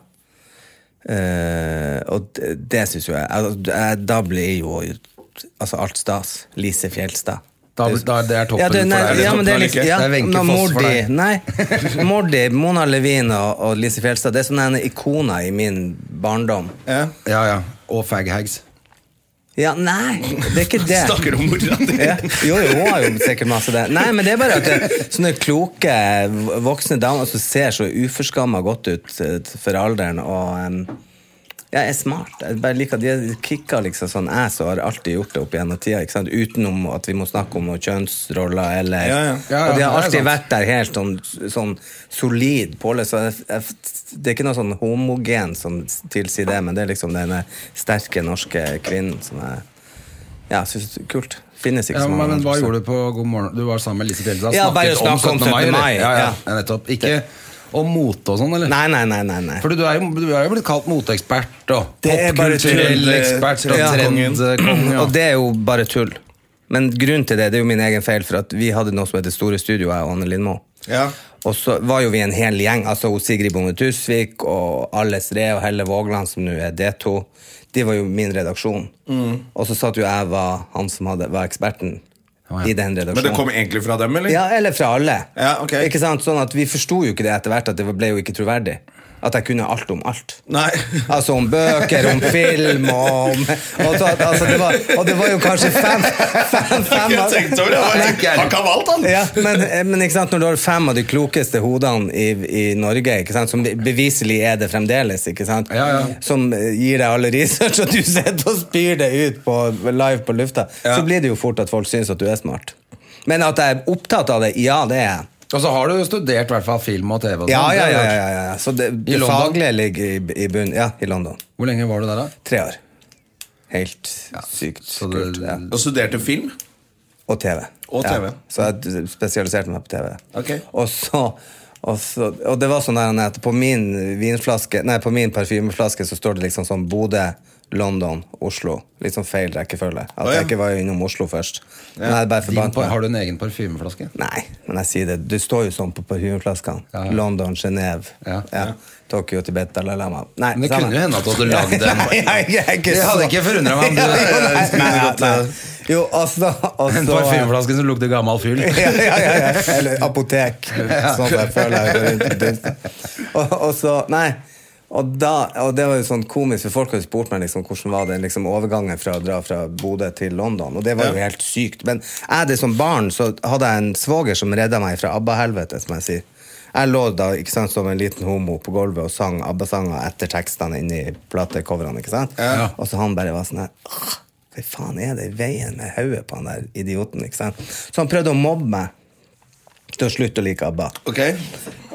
Speaker 3: Eh, og det, det syns jo jeg, altså, jeg Da blir jo altså, alt stas. Lise Fjelstad.
Speaker 2: Da- da- det er toppen
Speaker 3: ja, det, nei,
Speaker 2: for deg, eller
Speaker 3: Ja, men det er
Speaker 1: toppen
Speaker 3: liksom,
Speaker 1: eller ikke?
Speaker 3: ja,
Speaker 2: Det er Wenche
Speaker 3: men
Speaker 2: Foss for
Speaker 3: Mordi-
Speaker 2: deg.
Speaker 3: Nei. Mordi, Mona Levin og, og Lise Fjelstad, det er sånne ikoner i min barndom.
Speaker 1: altså. Ja.
Speaker 2: Ja, ja. Og faghags.
Speaker 3: Ja, nei, det er ikke det.
Speaker 1: Snakker om mora di.
Speaker 3: Ja. Jo, jo, hun har jo sikkert masse det. Nei, men det er bare at det, sånne kloke voksne damer som ser så uforskamma godt ut eh, for alderen og em, ja, er smart. Jeg bare liker at De kicker liksom sånn jeg som har alltid gjort det opp gjennom tida, ikke sant? utenom at vi må snakke om noen kjønnsroller eller
Speaker 1: Ja, ja.
Speaker 2: Ja, ja,
Speaker 3: Og de har
Speaker 2: det er
Speaker 3: alltid
Speaker 2: sant.
Speaker 3: vært der helt sånn, sånn solid pålest. Så jeg, jeg, det er ikke noe sånn homogen som tilsier det, men det er liksom denne sterke norske kvinnen som jeg ja, synes det er kult. Finnes ikke
Speaker 2: Ja,
Speaker 3: så
Speaker 2: men,
Speaker 3: mange.
Speaker 2: men Hva
Speaker 3: andre.
Speaker 2: gjorde du på God morgen? Du var sammen med Lise Fjelldal.
Speaker 3: Ja, bare
Speaker 2: snakket
Speaker 3: snakk om 17.
Speaker 2: eller?
Speaker 3: mai,
Speaker 2: Ja, ja,
Speaker 3: ja.
Speaker 2: ja, nettopp. Ikke om mote og sånn, eller?
Speaker 3: Nei, nei, nei. nei, nei.
Speaker 2: For du er jo, du er jo blitt kalt moteekspert og
Speaker 3: Det er bare
Speaker 2: popkulturell
Speaker 1: trend-
Speaker 2: ekspert og
Speaker 3: Ja.
Speaker 2: trendkongen. Ja.
Speaker 3: Og det er jo bare tull. Men grunnen til det, det er jo min egen feil, for at vi hadde noe som heter Store Studio, jeg og Anne Lindmo.
Speaker 1: Ja.
Speaker 3: Og så var jo vi en hel gjeng, altså hun Sigrid Bonde Tusvik og Alice Re og Helle Vågland, som nå er D2. De var jo min redaksjon. Og så satt jo jeg var han som hadde, var eksperten
Speaker 2: Mm. Å, ja.
Speaker 3: i den redaksjonen.
Speaker 1: Men det kom egentlig fra dem, eller?
Speaker 3: Ja, eller fra alle.
Speaker 1: Ja, ok.
Speaker 3: Ikke sant? Sånn at Vi forsto jo ikke det etter hvert, at det ble jo ikke troverdig. At jeg kunne alt om alt.
Speaker 1: Nei.
Speaker 3: Altså om bøker, om film og om og, så, altså, det var, og det var jo kanskje fem, fem,
Speaker 1: Jeg har
Speaker 3: fem
Speaker 1: ikke
Speaker 3: av-
Speaker 1: tenkt over det. Jeg bare tenkte, Han kan valgt, han!
Speaker 3: ja, men, eh, men ikke sant, når du har fem av de klokeste hodene i, i Norge, ikke sant, som beviselig er det fremdeles, ikke sant,
Speaker 2: Ja, ja.
Speaker 3: som eh, gir deg alle research, og du sitter og spyr det ut på, live på lufta, så blir det jo fort at folk syns at du er smart. Men at jeg er opptatt av det, ja, det er jeg.
Speaker 2: Og så har du jo studert i hvert fall film og TV. Og sånn.
Speaker 3: Ja,
Speaker 2: Det
Speaker 3: ja, ja,
Speaker 2: har du
Speaker 3: ja,
Speaker 2: gjort.
Speaker 3: ja, ja. Så det,
Speaker 2: I
Speaker 3: det
Speaker 2: London?
Speaker 3: faglige ligger i, i bunnen. Ja, i London.
Speaker 2: Hvor lenge var du der, da?
Speaker 3: Tre år. Helt sykt
Speaker 2: så det-
Speaker 3: kult. Ja.
Speaker 1: Og studerte film.
Speaker 3: Og TV.
Speaker 1: Og TV.
Speaker 3: Ja. Så jeg spesialiserte meg på TV.
Speaker 1: Ok.
Speaker 3: Og så og, så, og det var sånn der at på min vinflaske Nei, på min parfymeflaske så står det liksom sånn Bodø, London, Oslo. Litt sånn feil rekkefølge. At
Speaker 1: Å, ja.
Speaker 3: jeg ikke var innom Oslo først. Men jeg hadde bare
Speaker 2: Din,
Speaker 3: forbandt
Speaker 2: par-
Speaker 3: meg.
Speaker 2: har du en egen parfymeflaske?
Speaker 3: Nei, men jeg sier det. Du står jo sånn på parfymeflaskene.
Speaker 2: Ja.
Speaker 3: London, Genève,
Speaker 2: Ja.
Speaker 3: ja. Tokyo, Tibet, Dalai Lama. Nei,
Speaker 2: Men det
Speaker 3: samme.
Speaker 2: kunne jo hende at du hadde lagd en.
Speaker 3: Nei, jeg, jeg er ikke
Speaker 2: Det hadde
Speaker 3: så-
Speaker 2: ikke forundret meg om du-
Speaker 3: Ja, jo, nei,
Speaker 2: skulle
Speaker 3: nei,
Speaker 2: gått,
Speaker 3: nei.
Speaker 2: eh,
Speaker 3: Jo, altså, altså
Speaker 2: En parfymeflaske som lukter gammel fyll?
Speaker 3: ja, ja, ja, ja. Eller apotek. Sånn at jeg føler jeg går rundt og dunster. Og, og så, nei og, da, og det var jo sånn komisk, for folk har jo spurt meg liksom, hvordan var den liksom, overgangen fra å dra fra Bodø til London. Og det var jo
Speaker 1: Ja.
Speaker 3: helt sykt. Men jeg det som barn så hadde jeg en svoger som redda meg fra ABBA-helvete, som jeg sier. Jeg lå da ikke sant, som en liten homo på gulvet og sang ABBA-sanger etter tekstene inni platecoverne. ikke sant?
Speaker 1: Ja.
Speaker 3: Og så han bare var sånn her «Åh, Hva faen er det i veien med hodet på han der idioten? ikke sant? Så han prøvde å mobbe meg til å slutte å like ABBA.
Speaker 1: Ok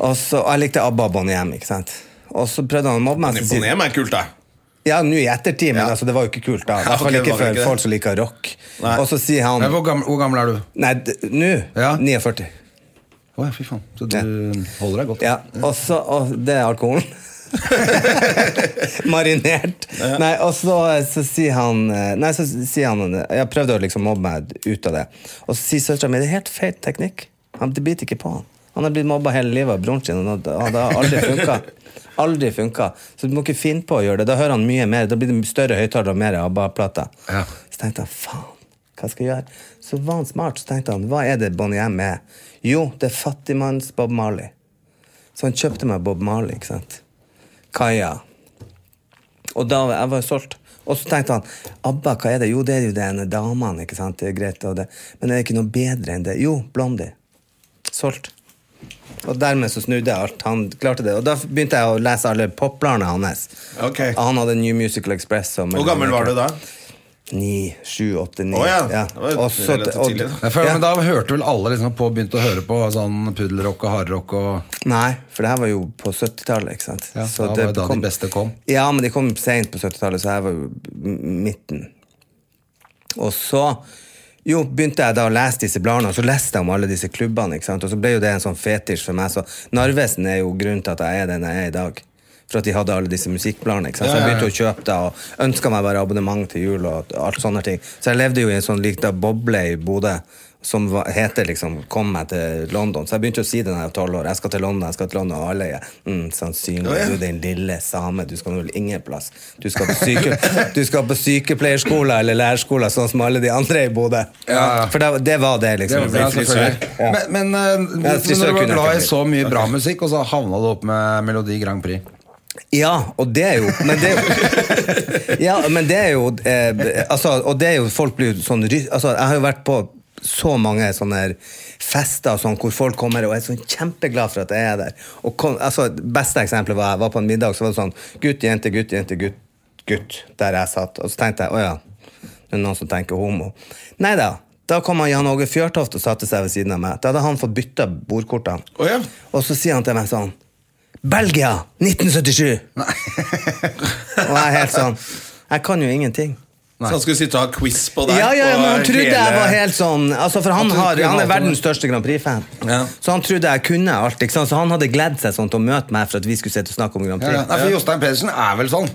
Speaker 3: Og så, og jeg likte ABBA og Bonnie M, ikke sant? Og så prøvde han å mobbe meg. så sier-
Speaker 1: Imponer meg kult, da.
Speaker 3: Ja, nå i ettertid, men
Speaker 1: Ja.
Speaker 3: altså, det var jo ikke kult da. I hvert
Speaker 1: ok,
Speaker 3: fall
Speaker 1: det
Speaker 3: ikke
Speaker 1: var ikke
Speaker 3: for
Speaker 1: det.
Speaker 3: folk som liker rock.
Speaker 1: Nei.
Speaker 3: Og så sier
Speaker 2: Men
Speaker 3: han
Speaker 2: Hvor gammel, hvor gammel er du?
Speaker 3: Nei, d- nå
Speaker 2: Ja.
Speaker 3: 49.
Speaker 2: Å ja, fy faen. Så du holder deg godt.
Speaker 3: Ja, og så og Det er alkoholen. Marinert. Nei, og så, så sier han eh, Nei, så sier han Jeg prøvde å liksom mobbe meg ut av det. Og så sier søstera mi det er helt feil teknikk. Han det biter ikke på han. Han har blitt mobba hele livet av broren sin, og det og det har aldri funka. Aldri funka. Så du må ikke finne på å gjøre det. Da hører han mye mer. Da blir det større høyttalere og mer ABBA-plater.
Speaker 2: Ja.
Speaker 3: Så tenkte jeg, faen, hva skal jeg gjøre? Så var han smart, så tenkte han, hva er det Bonnie M er? Jo, det er fattigmanns Bob Marley. Så han kjøpte meg Bob Marley, ikke sant? Kaja. Og da var jeg var jo solgt. Og så tenkte han, Abba, hva er det? Jo, det er jo det ene damene, ikke sant? Det er greit og det. Men er det ikke noe bedre enn det? Jo, Blondie. Solgt. Og dermed så snudde jeg alt. Han klarte det. Og da begynte jeg å lese alle popbladene hans.
Speaker 1: Ok.
Speaker 3: Han hadde New Musical Express. og
Speaker 1: Hvor gammel var du da?
Speaker 3: Ni, sju, åtte, ni.
Speaker 1: Å ja, det var jo
Speaker 3: Og så-
Speaker 1: relativt
Speaker 3: og-
Speaker 1: tidlig, da.
Speaker 2: Jeg føler,
Speaker 3: Ja.
Speaker 2: men Da hørte vel alle liksom på begynte å høre på sånn puddelrock og hardrock og
Speaker 3: Nei, for det her var jo på 70-tallet. ikke sant?
Speaker 2: Ja, da var det da de beste kom.
Speaker 3: Ja, men de kom seint på 70-tallet, så jeg var jo m- midten. Og så jo, begynte jeg da å lese disse bladene, og så leste jeg om alle disse klubbene. ikke sant? Og så ble jo det en sånn fetisj for meg. Så Narvesen er jo grunnen til at jeg er den jeg er i dag. For at de hadde alle disse musikkbladene. ikke sant? Så jeg begynte å kjøpe det, og ønska meg bare abonnement til jul. og alt sånne ting. Så jeg levde jo i en sånn lik da boble i Bodø. Som var, heter liksom 'Kom meg til London'. Så jeg begynte å si det da jeg var tolv år. 'Jeg skal til London', jeg skal til London. Og alle er mm, sannsynlig.
Speaker 1: Ja, ja.
Speaker 3: Du, din lille same, du skal vel ingen plass. Du skal på, syke, du skal på sykepleierskolen eller lærerskolen, sånn som alle de andre i Bodø.
Speaker 2: Ja.
Speaker 3: For det, det var det, liksom.
Speaker 1: blir
Speaker 2: Ja,
Speaker 1: frisør.
Speaker 2: selvfølgelig. Men, men eh,
Speaker 3: Ja,
Speaker 2: når
Speaker 3: frisør
Speaker 2: du var
Speaker 3: kunne jeg
Speaker 2: glad i
Speaker 3: ikke
Speaker 2: så mye bra musikk, og så havna du opp med Melodi Grand Prix
Speaker 3: Ja, og det er jo Men det er jo, ja, men det er jo eh, altså, Og det er jo folk blir jo sånn ry- altså, Jeg har jo vært på så mange sånne her fester og sånn, hvor folk kommer og er sånn kjempeglad for at jeg er der. Og kom, altså, beste eksempelet var jeg var på en middag, så var det sånn gutt, jente, gutt, jente, gutt, gutt, der jeg satt. Og så tenkte jeg å ja, det er noen som tenker homo. Nei da. Da kom han Jan Åge Fjørtoft og satte seg ved siden av meg. Da hadde han fått bytta bordkortene.
Speaker 1: Å ja.
Speaker 3: Og så sier han til meg sånn Belgia 1977! og jeg er helt sånn Jeg kan jo ingenting.
Speaker 1: Så han skulle sitte og ha quiz på deg?
Speaker 3: Ja, ja, ja, men Han
Speaker 1: på
Speaker 3: trodde jeg
Speaker 1: hele-
Speaker 3: var helt sånn altså For han,
Speaker 2: At du
Speaker 3: har,
Speaker 2: kunne
Speaker 3: han er
Speaker 2: alt om
Speaker 3: verdens
Speaker 2: det. sånn.
Speaker 3: største Grand Prix-fan.
Speaker 2: Ja.
Speaker 3: Så han trodde jeg kunne alt. Ikke sant? Så han hadde gledd seg sånn til å møte meg for at vi skulle sitte og snakke om Grand
Speaker 2: Ja,
Speaker 3: Prix.
Speaker 2: ja. Nei, for Jostein Pedersen er vel sånn?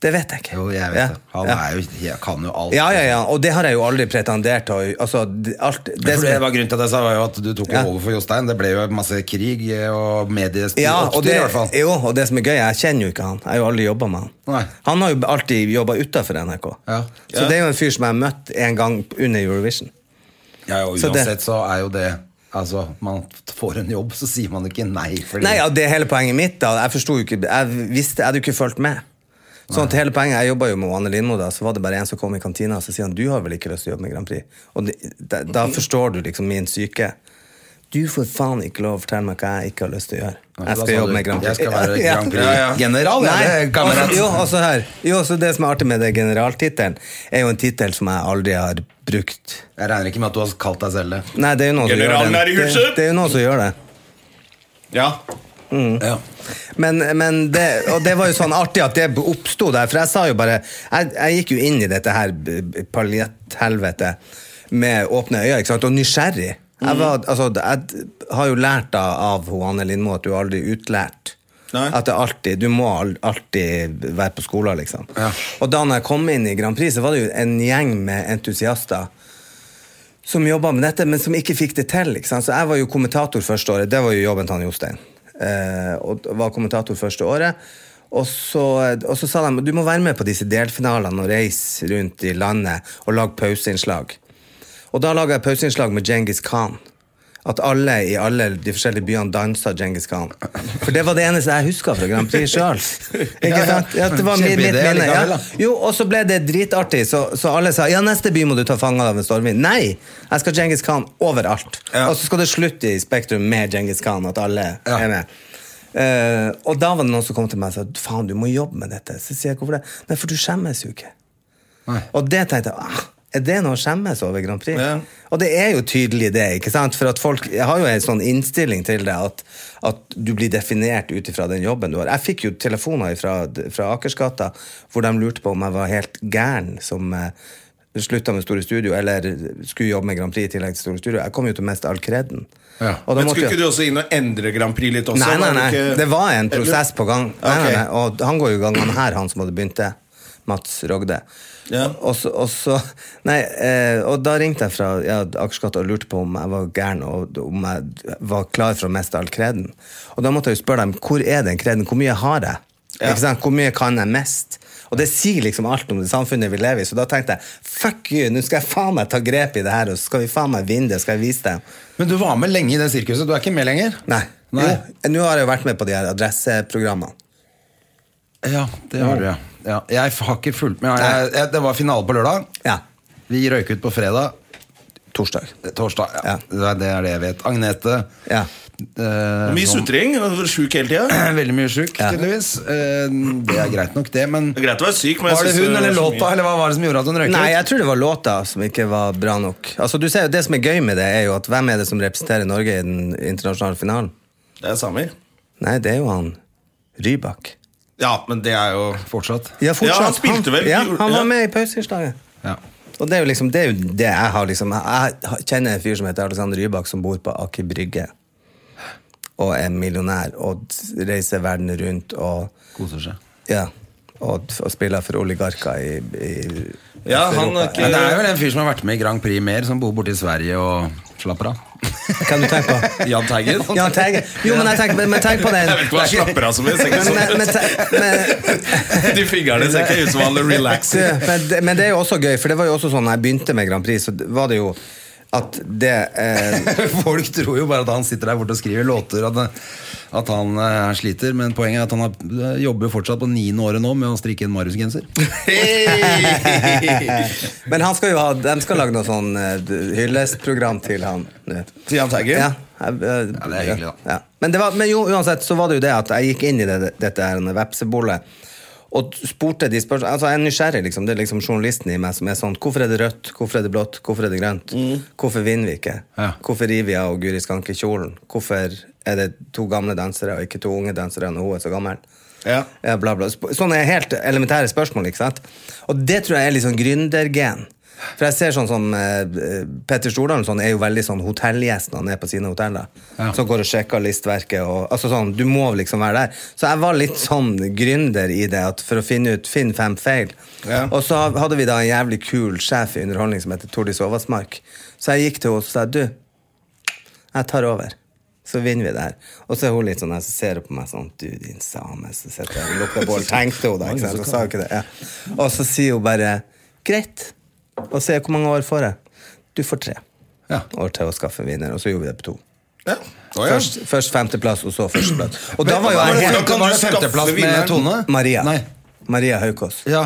Speaker 3: Det vet jeg ikke. Ja,
Speaker 2: Han
Speaker 3: ja.
Speaker 2: er jo, jeg kan jo alt.
Speaker 3: ja, ja, ja, og det har jeg jo aldri pretendert til å- altså, d- alt,
Speaker 2: Det,
Speaker 3: det
Speaker 2: for
Speaker 3: som
Speaker 2: det
Speaker 3: er-
Speaker 2: var grunnen til at jeg sa var jo at du tok jo
Speaker 3: Ja.
Speaker 2: over for Jostein. Det ble jo masse krig eh, og mediestyr.
Speaker 3: ja, og det,
Speaker 2: i hvert fall.
Speaker 3: jo, og det som er gøy, jeg kjenner jo ikke han. Jeg har jo aldri jobba med han.
Speaker 2: Nei.
Speaker 3: Han har jo alltid jobba utafor NRK.
Speaker 2: Ja.
Speaker 3: Så det er jo en fyr som jeg møtte en gang under Eurovision.
Speaker 2: Ja, og
Speaker 3: Så det-
Speaker 2: uansett så er jo det Altså, man får en jobb, så sier man ikke nei. Fordi,
Speaker 3: Nei, ja, det er hele poenget mitt. da Jeg forsto jo ikke Jeg visste, jeg hadde jo ikke fulgt med. Sånn at hele poenget, Jeg jobba jo med Anne Lindmo, da, så var det bare en som kom i kantina og så sier han, du har vel ikke lyst til å jobbe med Grand Prix. Og det, da, da
Speaker 2: Mm.
Speaker 3: forstår du liksom min syke. Du får faen ikke lov å fortelle meg hva jeg ikke har lyst til å gjøre.
Speaker 2: Nei,
Speaker 3: Jeg
Speaker 2: da
Speaker 3: skal
Speaker 2: sa du,
Speaker 3: jobbe med Grand Prix.
Speaker 2: Jeg skal være
Speaker 3: Ja.
Speaker 2: Grand
Speaker 1: Ja, ja.
Speaker 2: Prix-general,
Speaker 3: Nei,
Speaker 2: jeg, det, kamerat.
Speaker 3: altså, jo, altså her, jo, så det som er artig med det generaltittelen, er jo en tittel som jeg aldri har brukt.
Speaker 2: Jeg regner ikke med at du har kalt deg selv det.
Speaker 3: Nei, det er jo noen som gjør
Speaker 1: Generalen
Speaker 3: det.
Speaker 1: er i
Speaker 3: Det,
Speaker 1: huset!
Speaker 3: det er jo noen som gjør det.
Speaker 1: Ja.
Speaker 3: Mm.
Speaker 2: Ja.
Speaker 3: Men, men det, og det var jo sånn artig at det oppsto der, for jeg sa jo bare Jeg, jeg gikk jo inn i dette her b- b- paljetthelvete med åpne øyne, ikke sant, og nysgjerrig. Jeg, var, altså, jeg d- har jo lært av, av hun Anne Lindmo at du er aldri utlært.
Speaker 1: Nei.
Speaker 3: At det alltid, Du må al- alltid være på skolen, liksom. Og da når jeg kom inn i Grand Prix, så var det jo en gjeng med entusiaster som jobba med dette, men som ikke fikk det til. Ikke sant? Så jeg var jo kommentator første året. Det var jo jobben til han Jostein. Eh, og var kommentator første året. Og så, og så sa de du må være med på disse delfinalene og reise rundt i landet og lage pauseinnslag. Og da laga jeg pauseinnslag med Djengis Khan. At alle i alle de forskjellige byene dansa Djengis Khan. For det var det eneste jeg huska fra Grand Prix sjøl.
Speaker 2: Ja, ja.
Speaker 3: Det var mitt, mitt
Speaker 2: Kjempeidé
Speaker 3: minne.
Speaker 2: likevel,
Speaker 3: Ja.
Speaker 2: da.
Speaker 3: Jo, og så ble det dritartig, så, så alle sa ja, neste by må du ta fanget av en stormvind. Nei! Jeg skal Djengis Khan overalt.
Speaker 2: Ja.
Speaker 3: Og så skal det slutte i Spektrum med Djengis Khan, at alle
Speaker 2: Ja.
Speaker 3: er med. Eh, og da var det noen som kom til meg og sa faen, du må jobbe med dette. Så sier jeg hvorfor det? Nei, for du skjemmes jo ikke.
Speaker 2: Nei.
Speaker 3: Og det tenkte jeg ah, Er det noe å skjemmes over Grand Prix?
Speaker 1: Ja.
Speaker 3: Og det er jo tydelig det, ikke sant? For at folk jeg har jo en sånn innstilling til det at, at du blir definert ut ifra den jobben du har. Jeg fikk jo telefoner fra, fra Akersgata hvor de lurte på om jeg var helt gæren som eh, slutta med Store Studio, eller skulle jobbe med Grand Prix i tillegg til Store Studio. Jeg kom jo til å miste all kreden.
Speaker 2: Ja.
Speaker 3: Og da
Speaker 1: Men
Speaker 3: måtte
Speaker 1: skulle
Speaker 3: jeg-
Speaker 1: ikke du også inn og endre Grand Prix litt også?
Speaker 3: Nei, nei,
Speaker 1: Var
Speaker 3: nei.
Speaker 1: ikke-
Speaker 3: Det var en prosess på gang. Nei,
Speaker 1: Ok.
Speaker 3: nei, nei. Og han går jo i gang, han her, han som hadde begynt det. Mats Rogde.
Speaker 1: Ja.
Speaker 3: Og, så, og, så, nei, eh, og da ringte jeg fra ja, Akersgata og lurte på om jeg var gæren og om jeg var klar for å miste all kreden. Og da måtte jeg jo spørre dem hvor er den kreden, hvor mye har jeg? Ikke sant? Hvor mye kan jeg miste? Og det sier liksom alt om det samfunnet vi lever i, så da tenkte jeg fuck you, nå skal jeg faen meg ta grep i det her, og så skal vi faen meg vinne det, skal jeg vise dem.
Speaker 2: Men du var med lenge i det sirkuset. Du er ikke med lenger?
Speaker 3: Nei.
Speaker 2: Nei.
Speaker 3: Jo, Nå har jeg jo vært med på de her adresseprogrammene.
Speaker 2: Ja, det har du, ja. ja. Jeg har ikke fulgt med. Jeg, jeg, det var finale på lørdag.
Speaker 3: Ja.
Speaker 2: Vi røyk ut på fredag. Eh,
Speaker 3: Torsdag.
Speaker 2: Torsdag. Ja.
Speaker 3: Ja.
Speaker 2: Det er- Det er det jeg vet. Agnete.
Speaker 3: Ja.
Speaker 2: eh,
Speaker 1: Mye
Speaker 2: som-
Speaker 1: sutring. Sjuk hele tida.
Speaker 2: Veldig mye sjuk,
Speaker 3: Ja.
Speaker 2: tydeligvis. Eh, Det er greit nok, det, men
Speaker 1: Det er greit å være syk, men jeg
Speaker 2: Var det
Speaker 1: synes
Speaker 2: hun
Speaker 1: det
Speaker 2: eller
Speaker 1: var så mye.
Speaker 2: låta, eller hva var det som gjorde at hun røyket?
Speaker 3: Nei,
Speaker 2: ut?
Speaker 3: jeg tror det var låta som ikke var bra nok. Altså, du ser jo, Det som er gøy med det, er jo at hvem er det som representerer Norge i den internasjonale finalen?
Speaker 1: Det er samer.
Speaker 3: Nei, det er jo han Rybak.
Speaker 1: Ja, men det er jo
Speaker 2: Fortsatt.
Speaker 3: Ja,
Speaker 1: Ja, han spilte vel.
Speaker 3: Ja, han
Speaker 1: Ja.
Speaker 3: var med i pauseinnslaget.
Speaker 2: Ja.
Speaker 3: Og det er jo liksom det, er jo det jeg har liksom Jeg kjenner en fyr som heter Alexander Rybak, som bor på Aker Brygge. Og er millionær og reiser verden rundt og
Speaker 2: Koser seg.
Speaker 3: Ja. Og, og spiller for oligarker i, i
Speaker 1: Ja, han er
Speaker 2: Men det
Speaker 1: ikke
Speaker 2: er vel en fyr som har vært med i Grand Prix mer, som bor borte i Sverige og slapper av.
Speaker 3: Kan du tenke på?
Speaker 1: Jahn Teigen.
Speaker 3: Ja, tenk, jo, men, jeg tenker, men- men tenk på
Speaker 1: Jeg
Speaker 3: den
Speaker 1: vet ikke hva han slapper av som helst.
Speaker 3: men, men, men, men,
Speaker 1: De fingrene ser ikke ut som han er relaxing.
Speaker 3: men, men det er jo også gøy, for det var jo også sånn da jeg begynte med Grand Prix, så var det jo At det eh,
Speaker 2: Folk tror jo bare at han sitter der borte og skriver låter, at, at han eh, sliter. Men poenget er at han har, eh, jobber jo fortsatt på niende året nå med å strikke en Marius-genser.
Speaker 3: Men han skal jo ha, de skal lage noe sånn eh, hyllestprogram til han. du vet.
Speaker 1: Til Jahn Teigen?
Speaker 3: Ja. Jeg, eh,
Speaker 2: Ja, det er hyggelig, da.
Speaker 3: Ja. Men, det var, men jo, uansett så var det jo det at jeg gikk inn i det, dette her denne vepsebollet og spurte de spørsmål Altså, jeg er nysgjerrig, liksom. Det er liksom journalisten i meg som er sånn Hvorfor er det rødt? Hvorfor er det blått? Hvorfor er det grønt? Hvorfor vinner vi ikke?
Speaker 2: Mm. Ja.
Speaker 3: Hvorfor river jeg og Guri Skanke kjolen? Hvorfor er det to gamle dansere og ikke to unge dansere når hun er så gammel?
Speaker 1: Ja.
Speaker 3: Ja, bla, bla. Sp- Sånne er helt elementære spørsmål. ikke sant? Og det tror jeg er litt sånn gründergen. For jeg ser sånn som eh, eh, Petter Stordalen sånn, er jo veldig sånn hotellgjest når han er på sine hoteller.
Speaker 2: Ja.
Speaker 3: Som går og sjekker listverket. Og, altså sånn, Du må liksom være der. Så jeg var litt sånn gründer i det, at for å finne ut Finn fem feil.
Speaker 1: Ja.
Speaker 3: Og så hadde vi da en jævlig kul sjef i underholdning som heter Tordis Oversmark. Så jeg gikk til henne og sa du, jeg tar over. Så vinner vi det her. Og så er hun litt sånn her, så ser hun på meg sånn Du, din same. Så sitter jeg og lukker bål. Tenkte hun da, ikke sant? Hun sa jo ikke det. Ja. Og så sier hun bare Greit. Og så er jeg, hvor mange år får jeg? Du får tre
Speaker 2: Ja.
Speaker 3: år til å skaffe vinner. Og så gjorde vi det på to.
Speaker 1: Ja. Å, ja.
Speaker 3: Først, først femteplass, og så førsteplass. Og da var jo
Speaker 2: Var det,
Speaker 3: jeg
Speaker 1: hvordan
Speaker 2: var det,
Speaker 1: kan du
Speaker 2: femteplass med
Speaker 1: skaffe vinneren?
Speaker 2: Tone?
Speaker 3: helt Maria.
Speaker 2: Nei.
Speaker 3: Maria Haukås.
Speaker 2: Ja.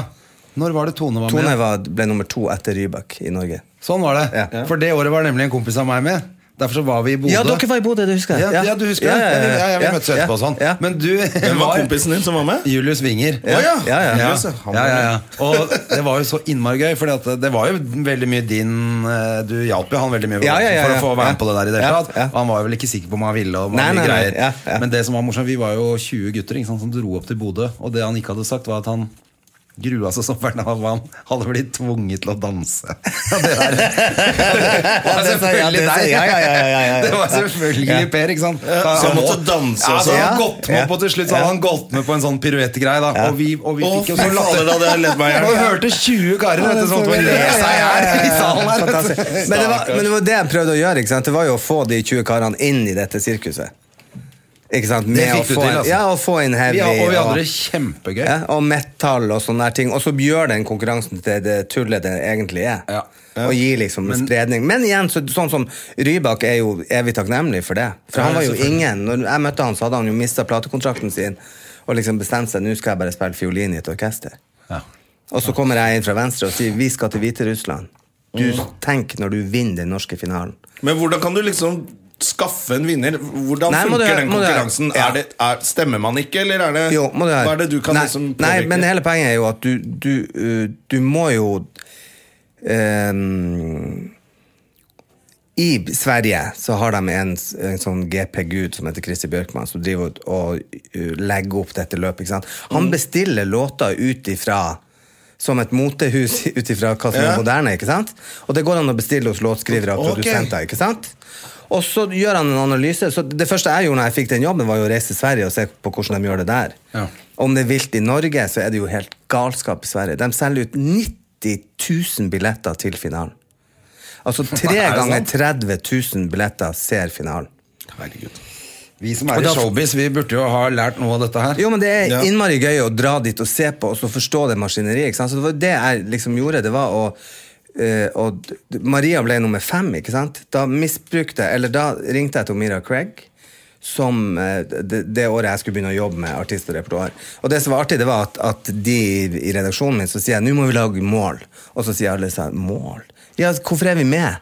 Speaker 2: Når var det Tone var
Speaker 3: Tone
Speaker 2: med?
Speaker 3: var, ble nummer to etter Rybak i Norge.
Speaker 2: Sånn var det.
Speaker 3: Ja.
Speaker 2: For det året var nemlig en kompis av meg med. Derfor så var vi i Bodø.
Speaker 3: Ja, dere var i Bodø, du husker
Speaker 2: ja,
Speaker 3: jeg.
Speaker 2: ja, du husker
Speaker 3: Ja,
Speaker 2: det?
Speaker 3: ja, ja,
Speaker 2: Ja, ja, vi
Speaker 3: ja,
Speaker 2: møttes etterpå og sånn.
Speaker 3: ja.
Speaker 2: Men du
Speaker 1: Hvem var kompisen din som var med?
Speaker 2: Julius Winger.
Speaker 3: Ja.
Speaker 2: Å
Speaker 3: Ja, ja.
Speaker 2: Ja.
Speaker 1: Han var
Speaker 2: Ja, ja,
Speaker 1: med.
Speaker 2: ja. Og det var jo så innmari gøy, for det var jo veldig mye din eh, Du hjalp jo han veldig mye
Speaker 3: Ja, ja, ja,
Speaker 2: for å få
Speaker 3: ja.
Speaker 2: være med på det der i det hele
Speaker 3: Ja,
Speaker 2: tatt.
Speaker 3: ja.
Speaker 2: Og han var jo vel ikke sikker på om han ville, og
Speaker 3: Nei,
Speaker 2: mye
Speaker 3: nei, nei,
Speaker 2: greier.
Speaker 3: ja, ja.
Speaker 2: Men det som var morsomt, vi var jo 20 gutter ikke sant, som dro opp til Bodø, og det han ikke hadde sagt, var at han Grua seg som Bernard han hadde blitt tvunget til å danse. Ja, det, der. det var
Speaker 3: det sa- ja,
Speaker 2: selvfølgelig
Speaker 3: det sa-
Speaker 2: deg!
Speaker 3: ja, ja, ja, ja, ja, ja.
Speaker 2: Det var selvfølgelig
Speaker 3: Ja.
Speaker 2: Per, ikke sant?
Speaker 1: Så han måtte danse
Speaker 2: Ja,
Speaker 1: også.
Speaker 2: så hadde han
Speaker 3: Ja.
Speaker 2: gått med på til slutt Så hadde han gått med på en sånn piruettgreie, da. Og vi, og vi
Speaker 1: Å,
Speaker 2: fikk
Speaker 1: fy
Speaker 2: jo så
Speaker 1: fader, da hadde jeg ledd meg i
Speaker 2: og vi
Speaker 1: hjel.
Speaker 2: hørte 20 karer etter sånt og le
Speaker 3: Ja,
Speaker 2: seg i
Speaker 3: ja,
Speaker 2: hjel
Speaker 3: ja,
Speaker 2: i
Speaker 3: ja.
Speaker 2: salen her.
Speaker 3: Fantastisk. Men det, var, men det var det jeg prøvde å gjøre. Ikke sant? Det var jo å få de 20 karene inn i dette sirkuset. Ikke sant? Med
Speaker 2: fikk
Speaker 3: å
Speaker 2: du
Speaker 3: få
Speaker 2: til,
Speaker 3: inn-
Speaker 2: altså.
Speaker 3: Ja, å få inn heavy
Speaker 2: Vi, og vi hadde det
Speaker 3: og,
Speaker 2: kjempegøy.
Speaker 3: ja, og metal og sånne der ting. Og så gjør den konkurransen til det tullet det egentlig er.
Speaker 2: Ja.
Speaker 3: Og gir liksom spredning. Men igjen, så, sånn som Rybak er jo evig takknemlig for det. For
Speaker 2: Ja,
Speaker 3: han var jo
Speaker 2: selvfølgelig.
Speaker 3: ingen Når jeg møtte han, så hadde han jo mista platekontrakten sin og liksom bestemt seg nå skal jeg bare spille fiolin i et orkester.
Speaker 2: Ja.
Speaker 3: Og så kommer jeg inn fra venstre og sier vi skal til Hviterussland. Du
Speaker 1: Mm.
Speaker 3: Tenk når du vinner den norske finalen.
Speaker 1: Men hvordan kan du liksom skaffe en vinner? Hvordan
Speaker 3: Nei, må du-
Speaker 1: funker den
Speaker 3: må du-
Speaker 1: konkurransen?
Speaker 3: ja.
Speaker 1: Er det, er, stemmer man ikke, eller er det
Speaker 3: Jo, må du høre.
Speaker 1: Hva er det du kan
Speaker 3: nei,
Speaker 1: liksom
Speaker 3: nei,
Speaker 1: påvirke?
Speaker 3: men hele poenget er jo at du, du, uh, du må jo ehm, I Sverige så har de en, s- en sånn GP-gud som heter Christer Bjørkman, som driver og, og uh, legger opp dette løpet. Ikke sant? Han
Speaker 1: Mm.
Speaker 3: bestiller låter ut ifra som et motehus ut ifra hva som er
Speaker 1: Ja.
Speaker 3: moderne. ikke sant? Og det går an å bestille hos låtskrivere og
Speaker 1: Ok.
Speaker 3: produsenter. ikke sant? Og så gjør han en analyse. Så det første jeg gjorde når jeg fikk den jobben, var jo å reise til Sverige og se på hvordan de gjør det der.
Speaker 2: Ja.
Speaker 3: Om det er vilt i Norge, så er det jo helt galskap i Sverige. De selger ut 90 000 billetter til finalen. Altså tre
Speaker 2: det
Speaker 3: ganger
Speaker 2: sant?
Speaker 3: 30 000 billetter ser finalen.
Speaker 2: Herregud. Vi som er
Speaker 3: Og
Speaker 2: i
Speaker 3: da-
Speaker 2: showbiz, vi burde jo ha lært noe av dette her.
Speaker 3: Jo, men Det er
Speaker 1: Ja.
Speaker 3: innmari gøy å dra dit og se på og så forstå det maskineriet. ikke sant? Så Det var det jeg liksom gjorde. det var å eh, og d- d- Maria ble nummer fem. ikke sant? Da misbrukte jeg, eller da ringte jeg til Mira Craig, som eh, det, det året jeg skulle begynne å jobbe med artist og repertoar. Og det som var artig, det var at, at de i redaksjonen min så sier jeg, nå må vi lage mål. Og så sier alle sånn Mål? Ja, hvorfor er vi med?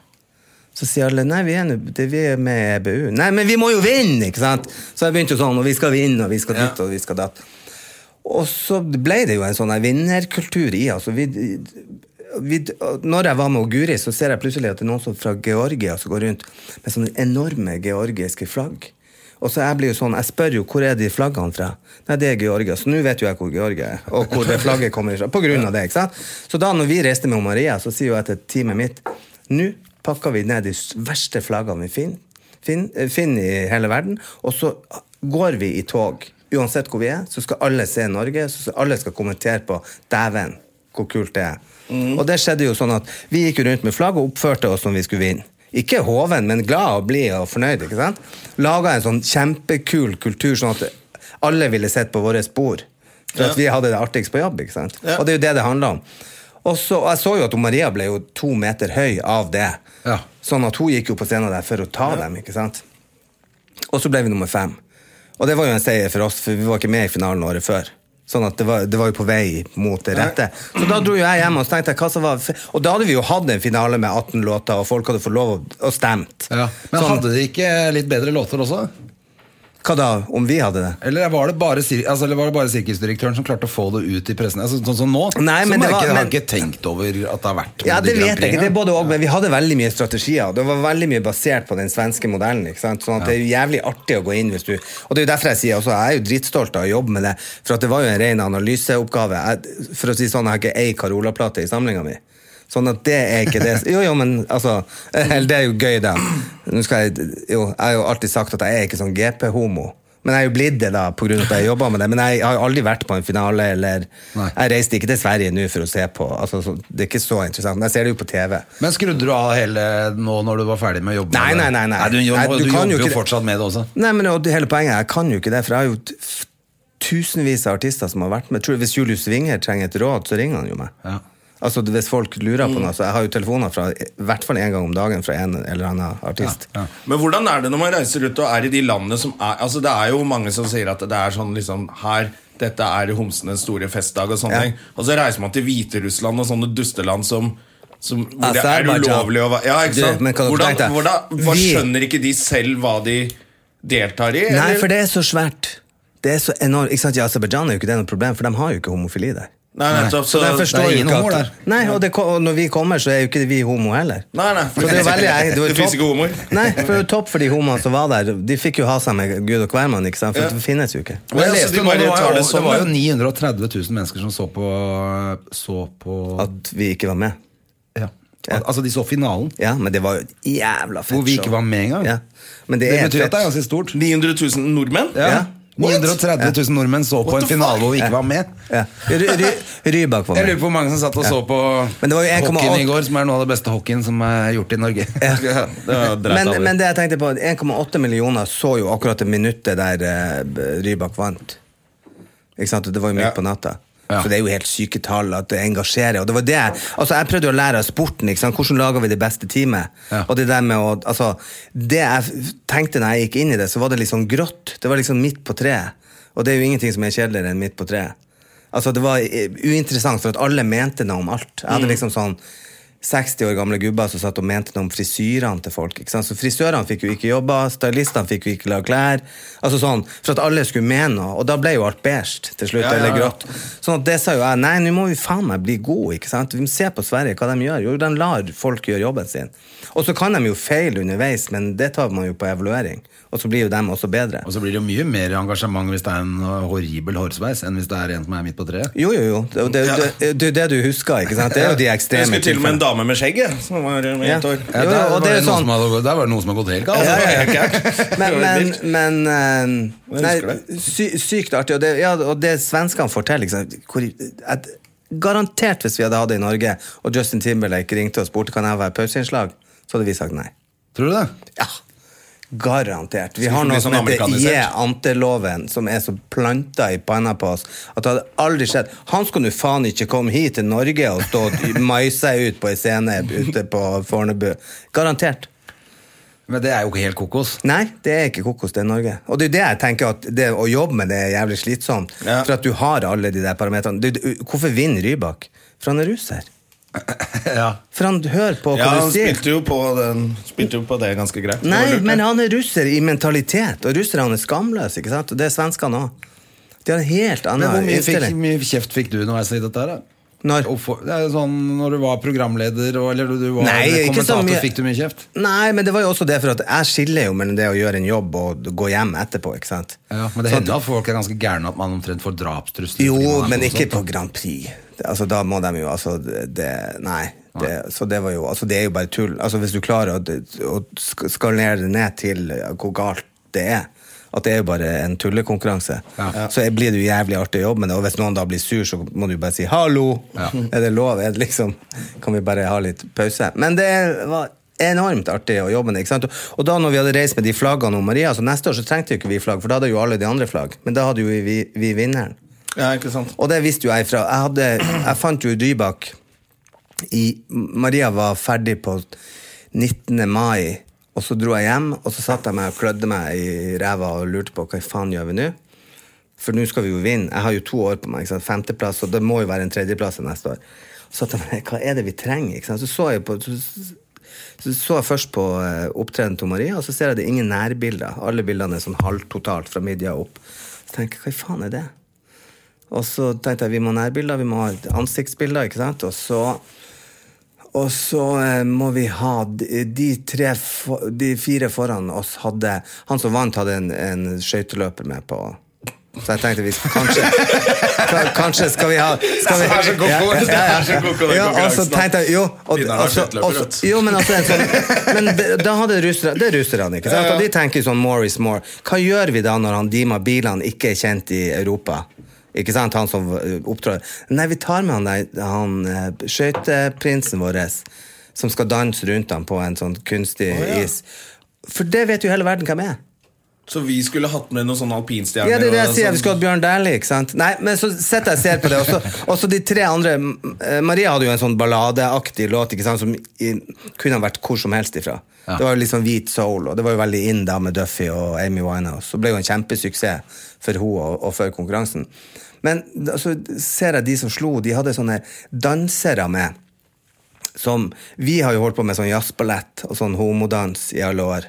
Speaker 3: Så sier alle nei, vi er, nå- det, vi er med i EBU. Nei, men vi må jo vinne! ikke sant? Så jeg begynte jo sånn, og vi skal vinne, og vi skal dit, og vi skal datt. Og så ble det jo en sånn her vinnerkultur i altså vi, vi, Når jeg var med Guri, så ser jeg plutselig at det er noen som fra Georgia som går rundt med sånne enorme georgiske flagg. Og så jeg blir jo sånn, jeg spør jo hvor er de flaggene fra. Nei, det er Georgia. Så nå vet jo jeg hvor Georgia er, og hvor det flagget kommer fra. På grunn av det, ikke sant? Så da når vi reiste med Maria, så sier jo jeg til teamet mitt nå pakker vi ned de s- verste flaggene vi finner, finn, eh, finner i hele verden, og så går vi i tog. Uansett hvor vi er, så skal alle se Norge, så skal alle skal kommentere på dæven, hvor kult det er. Og det skjedde jo sånn at vi gikk jo rundt med flagg og oppførte oss som vi skulle vinne. Ikke hoven, men glad og blid og fornøyd. ikke sant? Laga en sånn kjempekul kultur, sånn at alle ville sett på våre spor. For at vi hadde det artigst på jobb. ikke sant? Og det er jo det det handler om. Og så, og jeg så jo at hun Maria ble jo to meter høy av det.
Speaker 2: Ja.
Speaker 3: Sånn at hun gikk jo på scenen der for å ta dem, ikke sant? Og så ble vi nummer fem. Og det var jo en seier for oss, for vi var ikke med i finalen året før. Sånn at det var, det var jo på vei mot det rette. Så da dro jo jeg hjem og så tenkte jeg, hva som var f- Og da hadde vi jo hatt en finale med 18 låter, og folk hadde fått lov å, og stemt.
Speaker 2: Ja. Men
Speaker 3: sånn,
Speaker 2: hadde de ikke litt bedre låter også?
Speaker 3: Hva da, om vi hadde det?
Speaker 2: Eller var det bare, sir- altså, eller var det bare sirkusdirektøren som klarte å få det ut i pressen? Altså, sånn som nå,
Speaker 3: Nei,
Speaker 2: så
Speaker 3: men det
Speaker 2: merker
Speaker 3: var-
Speaker 2: jeg- jeg har
Speaker 3: men-
Speaker 2: ikke tenkt over at det har vært
Speaker 3: Ja, det
Speaker 2: Melodi Grand
Speaker 3: vet jeg ikke. Det er
Speaker 2: Prix engang.
Speaker 3: både og, men vi hadde veldig mye strategier. og Det var veldig mye basert på den svenske modellen. ikke sant? Sånn at det er jo jævlig artig å gå inn hvis du Og det er jo derfor jeg sier også, jeg er jo dritstolt av å jobbe med det, for at det var jo en ren analyseoppgave. Jeg, for å si sånn, jeg har ikke ei Carola-plate i samlinga mi. Sånn at det er ikke det Jo, jo, men altså Eller det er jo gøy, da. Nå skal jeg, jo, jeg har jo alltid sagt at jeg er ikke sånn GP-homo. Men jeg er jo blitt det, da, pga. at jeg jobba med det. Men jeg har jo aldri vært på en finale, eller
Speaker 2: Nei.
Speaker 3: Jeg reiste ikke til Sverige nå for å se på. Altså, så, det er ikke så interessant. Men jeg ser det jo på TV.
Speaker 2: Men skrudde du av hele nå når du var ferdig med å jobbe?
Speaker 3: Nei,
Speaker 2: med
Speaker 3: nei,
Speaker 2: det?
Speaker 3: nei, nei.
Speaker 2: du, jo-
Speaker 3: Nei, du
Speaker 2: du,
Speaker 3: kan jo
Speaker 2: jobber jo
Speaker 3: ikke-
Speaker 2: fortsatt med det også.
Speaker 3: Nei, men og, Hele poenget er jeg kan jo ikke det, for jeg har jo t- f- tusenvis av artister som har vært med. Tror, du hvis Julius Winger trenger et råd, så ringer han jo meg.
Speaker 2: Ja.
Speaker 3: Altså Hvis folk lurer på noe, så jeg har jo telefoner fra i hvert fall én gang om dagen fra en eller annen artist.
Speaker 2: Ja, ja.
Speaker 1: Men hvordan er det når man reiser ut og er i de landene som er Altså Det er jo mange som sier at det er sånn liksom her dette er homsenes store festdag og sånne
Speaker 3: Ja.
Speaker 1: ting. Og så reiser man til Hviterussland og sånne dusteland som, som hvor det er
Speaker 3: Aserbajdsjan.
Speaker 1: ulovlig å være Ja,
Speaker 3: Du,
Speaker 1: ikke sant?
Speaker 3: men kan dere
Speaker 1: Hvordan,
Speaker 3: tenke deg?
Speaker 1: hvordan, hva
Speaker 3: Vi-
Speaker 1: Skjønner ikke de selv hva de deltar i?
Speaker 3: Nei,
Speaker 1: eller?
Speaker 3: for det er så svært. Det er så enormt. Ikke sant, I Aserbajdsjan er jo ikke det noe problem, for de har jo ikke homofili der.
Speaker 1: Nei, nettopp,
Speaker 3: Så
Speaker 1: så,
Speaker 3: de forstår
Speaker 2: det er
Speaker 3: jo
Speaker 2: ingen
Speaker 3: ikke
Speaker 2: homoer
Speaker 3: at- Nei, og, det, ko- og når vi kommer, så er jo ikke vi homo heller.
Speaker 1: Nei, nei.
Speaker 3: Så det er jo veldig, jeg,
Speaker 1: det
Speaker 3: var jo
Speaker 1: finnes
Speaker 3: topp.
Speaker 1: ikke homoer.
Speaker 3: Nei, for det er jo topp for de homoene som var der. De fikk jo ha seg med Gud og hvermann, ikke sant? for
Speaker 1: Ja.
Speaker 3: det finnes jo ikke.
Speaker 2: Og
Speaker 1: Ja,
Speaker 2: jeg
Speaker 1: så de
Speaker 2: leste jo nå,
Speaker 1: bare
Speaker 2: det,
Speaker 1: tar
Speaker 2: var jo,
Speaker 1: det som
Speaker 2: det var jo
Speaker 1: en-
Speaker 2: 930 000 mennesker som så på, så på
Speaker 3: At vi ikke var med.
Speaker 2: ja. Al- Altså, de så finalen.
Speaker 3: Ja, men det var jo et jævla fett
Speaker 2: Hvor vi ikke
Speaker 3: show.
Speaker 2: var med engang.
Speaker 3: Ja. Men det,
Speaker 2: Det
Speaker 3: er
Speaker 2: betyr
Speaker 3: fett.
Speaker 2: at det er ganske stort.
Speaker 1: 900 000 nordmenn?
Speaker 2: Ja.
Speaker 3: Ja.
Speaker 2: 930 000 nordmenn så på
Speaker 1: What
Speaker 2: en
Speaker 1: the
Speaker 2: finale
Speaker 1: fuck?
Speaker 2: hvor vi ikke var med.
Speaker 3: ja. Ry, ry, Rybak var
Speaker 2: Jeg lurer
Speaker 3: med.
Speaker 2: på hvor mange som satt og så på
Speaker 3: Men det var jo 1,8
Speaker 2: hockeyen i går, som er noe av det beste hockeyen som er gjort i Norge.
Speaker 3: Ja.
Speaker 1: Det var dreit
Speaker 3: Men,
Speaker 1: aldri.
Speaker 3: men det jeg tenkte på, 1,8 millioner så jo akkurat det minuttet der eh, Rybak vant. Ikke sant? Og Det var jo midt
Speaker 1: Ja.
Speaker 3: på natta.
Speaker 2: Ja.
Speaker 3: Så det er jo helt syke tall at det engasjerer. Og det var det jeg- Altså, jeg prøvde å lære av sporten. Ikke sant? Hvordan lager vi det beste teamet?
Speaker 2: Ja.
Speaker 3: Og det der med å Altså, det jeg f- tenkte når jeg gikk inn i det, så var det liksom grått. Det var liksom midt på treet. Og det er jo ingenting som er kjedeligere enn midt på treet. Altså, det var eh, uinteressant, for at alle mente noe om alt. Jeg hadde liksom sånn 60 år gamle gubber som satt og mente noe om frisyrene til folk. Ikke sant? Så Frisørene fikk jo ikke jobba, stylistene fikk jo ikke lage klær. Altså sånn, For at alle skulle mene noe. Og da ble jo alt beige til slutt,
Speaker 1: Ja, ja,
Speaker 3: eller
Speaker 1: ja.
Speaker 3: grått. Sånn at det sa jo jeg, nei, nå må vi faen meg bli gode, ikke sant? Vi må se på Sverige hva de gjør. Jo, de lar folk gjøre jobben sin. Og så kan de jo feile underveis, men det tar man jo på evaluering. Og så blir jo de også bedre.
Speaker 2: Og så blir det jo mye mer engasjement hvis det er en uh, horribel hårsveis, enn hvis det er en som er midt på treet.
Speaker 3: Jo, jo, jo. Det det- det- det er jo det, du husker, ikke sant? Det er jo de
Speaker 1: Jeg
Speaker 3: ekstreme
Speaker 1: husker til og med en
Speaker 3: tilfellene.
Speaker 1: dame med skjegg. jeg, Som var med i
Speaker 3: Ja.
Speaker 1: et år.
Speaker 2: Ja, der,
Speaker 3: Jo, jo, og
Speaker 2: var
Speaker 3: det er
Speaker 2: det noen
Speaker 3: sånn-
Speaker 2: som hadde, der var det noen som hadde gått helt galt.
Speaker 1: Ja,
Speaker 2: Altså.
Speaker 1: det var helt gærent.
Speaker 3: Men, men, men eh,
Speaker 1: Jeg
Speaker 3: nei,
Speaker 1: husker det.
Speaker 3: sy, Sykt artig. Og det, ja, og det svenskene forteller liksom, hvor, at, Garantert hvis vi hadde hatt det i Norge, og Justin Timberlake ringte og spurte kan jeg være pauseinnslag, så hadde vi sagt nei.
Speaker 2: Tror du det?
Speaker 3: Ja, Garantert. Vi
Speaker 1: Skulle
Speaker 3: har
Speaker 1: bli sånn
Speaker 3: noe som heter
Speaker 1: amerikanisert.
Speaker 3: J-anteloven, som er så planta i panna på oss at det hadde aldri skjedd. Han skulle nå faen ikke komme hit til Norge og stå og maise ut på ei scene ute på Fornebu. Garantert.
Speaker 2: Men det er jo ikke helt kokos.
Speaker 3: Nei, det er ikke kokos, det er Norge. Og det er jo det jeg tenker at det å jobbe med det er jævlig slitsomt.
Speaker 1: Ja.
Speaker 3: For at du har alle de der parametrene. Du- du- Hvorfor vinner Rybak? For han er russer.
Speaker 2: Ja.
Speaker 3: For han hører på hva
Speaker 1: Ja, han
Speaker 3: du sier.
Speaker 1: spilte jo på, den, spilte jo på det ganske greit. Det var
Speaker 3: Nei,
Speaker 1: lurt,
Speaker 3: men
Speaker 1: det.
Speaker 3: han er russer i mentalitet, og russerne er skamløse, ikke sant? Og det er svenskene òg. De har en helt
Speaker 2: Men hvor
Speaker 3: annen
Speaker 2: mye, fikk,
Speaker 3: innstilling.
Speaker 2: mye kjeft fikk du underveis i dette her, da?
Speaker 3: Når?
Speaker 2: Og for, det er jo sånn, når du var programleder og, eller du var
Speaker 3: Nei, ikke så
Speaker 2: kommentator,
Speaker 3: mye.
Speaker 2: fikk du mye kjeft?
Speaker 3: Nei, men det var jo også det for at jeg skiller jo mellom det å gjøre en jobb og gå hjem etterpå, ikke sant? Sånn
Speaker 2: Ja, men det
Speaker 3: Så at-
Speaker 2: hender at folk er ganske gærne at man omtrent får drapstrusler. fordi
Speaker 3: Jo,
Speaker 2: man er
Speaker 3: men
Speaker 2: sånn
Speaker 3: ikke
Speaker 2: sånn.
Speaker 3: på Grand Prix. Det- Altså, da må de jo altså det, Nei. Det, så det var jo Altså, det er jo bare tull. Altså, hvis du klarer å, å sk- skalere det ned til hvor galt det er, at det er jo bare en tullekonkurranse,
Speaker 2: Ja.
Speaker 3: så blir det jo jævlig artig å jobbe med det. Og hvis noen da blir sur, så må du bare si 'hallo'.
Speaker 2: Ja.
Speaker 3: Er det lov? Er det liksom, kan vi bare ha litt pause? Men det var enormt artig å jobbe med det. ikke sant? Og da når vi hadde reist med de flaggene om Maria, så neste år så trengte jo ikke vi flagg, for da hadde jo alle de andre flagg. Men da hadde jo vi, vi vinneren.
Speaker 1: Ja, ikke sant
Speaker 3: Og det visste jo jeg fra Jeg, hadde, jeg fant jo Rybak i, Maria var ferdig på 19. mai, og så dro jeg hjem, og så satt jeg meg og klødde meg i ræva og lurte på hva faen gjør vi nå? For nå skal vi jo vinne. Jeg har jo to år på meg. Ikke sant? Femteplass, og det må jo være en tredjeplass til neste år. Så satt jeg meg, hva er det vi trenger? Ikke sant? Så så jeg på... Så, så så jeg først på eh, opptredenen til Maria, og så ser jeg det er ingen nærbilder. Alle bildene er sånn halvtotalt fra midja opp. Så tenker jeg, hva i faen er det? Og så tenkte jeg vi må ha nærbilder, vi må ha ansiktsbilder. ikke sant? Og så, og så eh, må vi ha de, de, tre, fo- de fire foran oss hadde Han som vant, hadde en, en skøyteløper med på. Så jeg tenkte vi kanskje, ka- kanskje skal vi ha skal vi,
Speaker 1: Det er så god- det er så god konkurranse.
Speaker 3: Ja, og så tenkte jeg, jo, og,
Speaker 1: Vidar har
Speaker 3: og så,
Speaker 1: skøyteløper,
Speaker 3: og så,
Speaker 1: vet du.
Speaker 3: jo, men altså en sånn, Men det- da hadde russerne Det er russerne, ikke sant? Og de tenker sånn more is more. Hva gjør vi da når han Dima Bilan ikke er kjent i Europa? Ikke sant, han som eh, opptrer. Nei, vi tar med han der han eh, skøyteprinsen vår som skal danse rundt ham på en sånn kunstig
Speaker 1: Å, ja.
Speaker 3: is. For det vet jo hele verden hvem er.
Speaker 1: Så vi skulle hatt med noen sånne alpinstjerner?
Speaker 3: Ja, det er det jeg
Speaker 1: og
Speaker 3: sier.
Speaker 1: sånn.
Speaker 3: Vi skulle hatt Bjørn Dæhlie, ikke sant? Nei, men så sitter jeg og ser på det. Og så- Og så de tre andre eh, Maria hadde jo en sånn balladeaktig låt ikke sant? som i, kunne ha vært hvor som helst ifra. Det var jo litt sånn hvit soul, og det var jo veldig in da med Duffy og Amy Winehouse. Så ble det jo en kjempesuksess for henne og, og for konkurransen. Men da- så ser jeg de som slo, de hadde sånne dansere med som Vi har jo holdt på med sånn jazzballett og sånn homodans i alle år.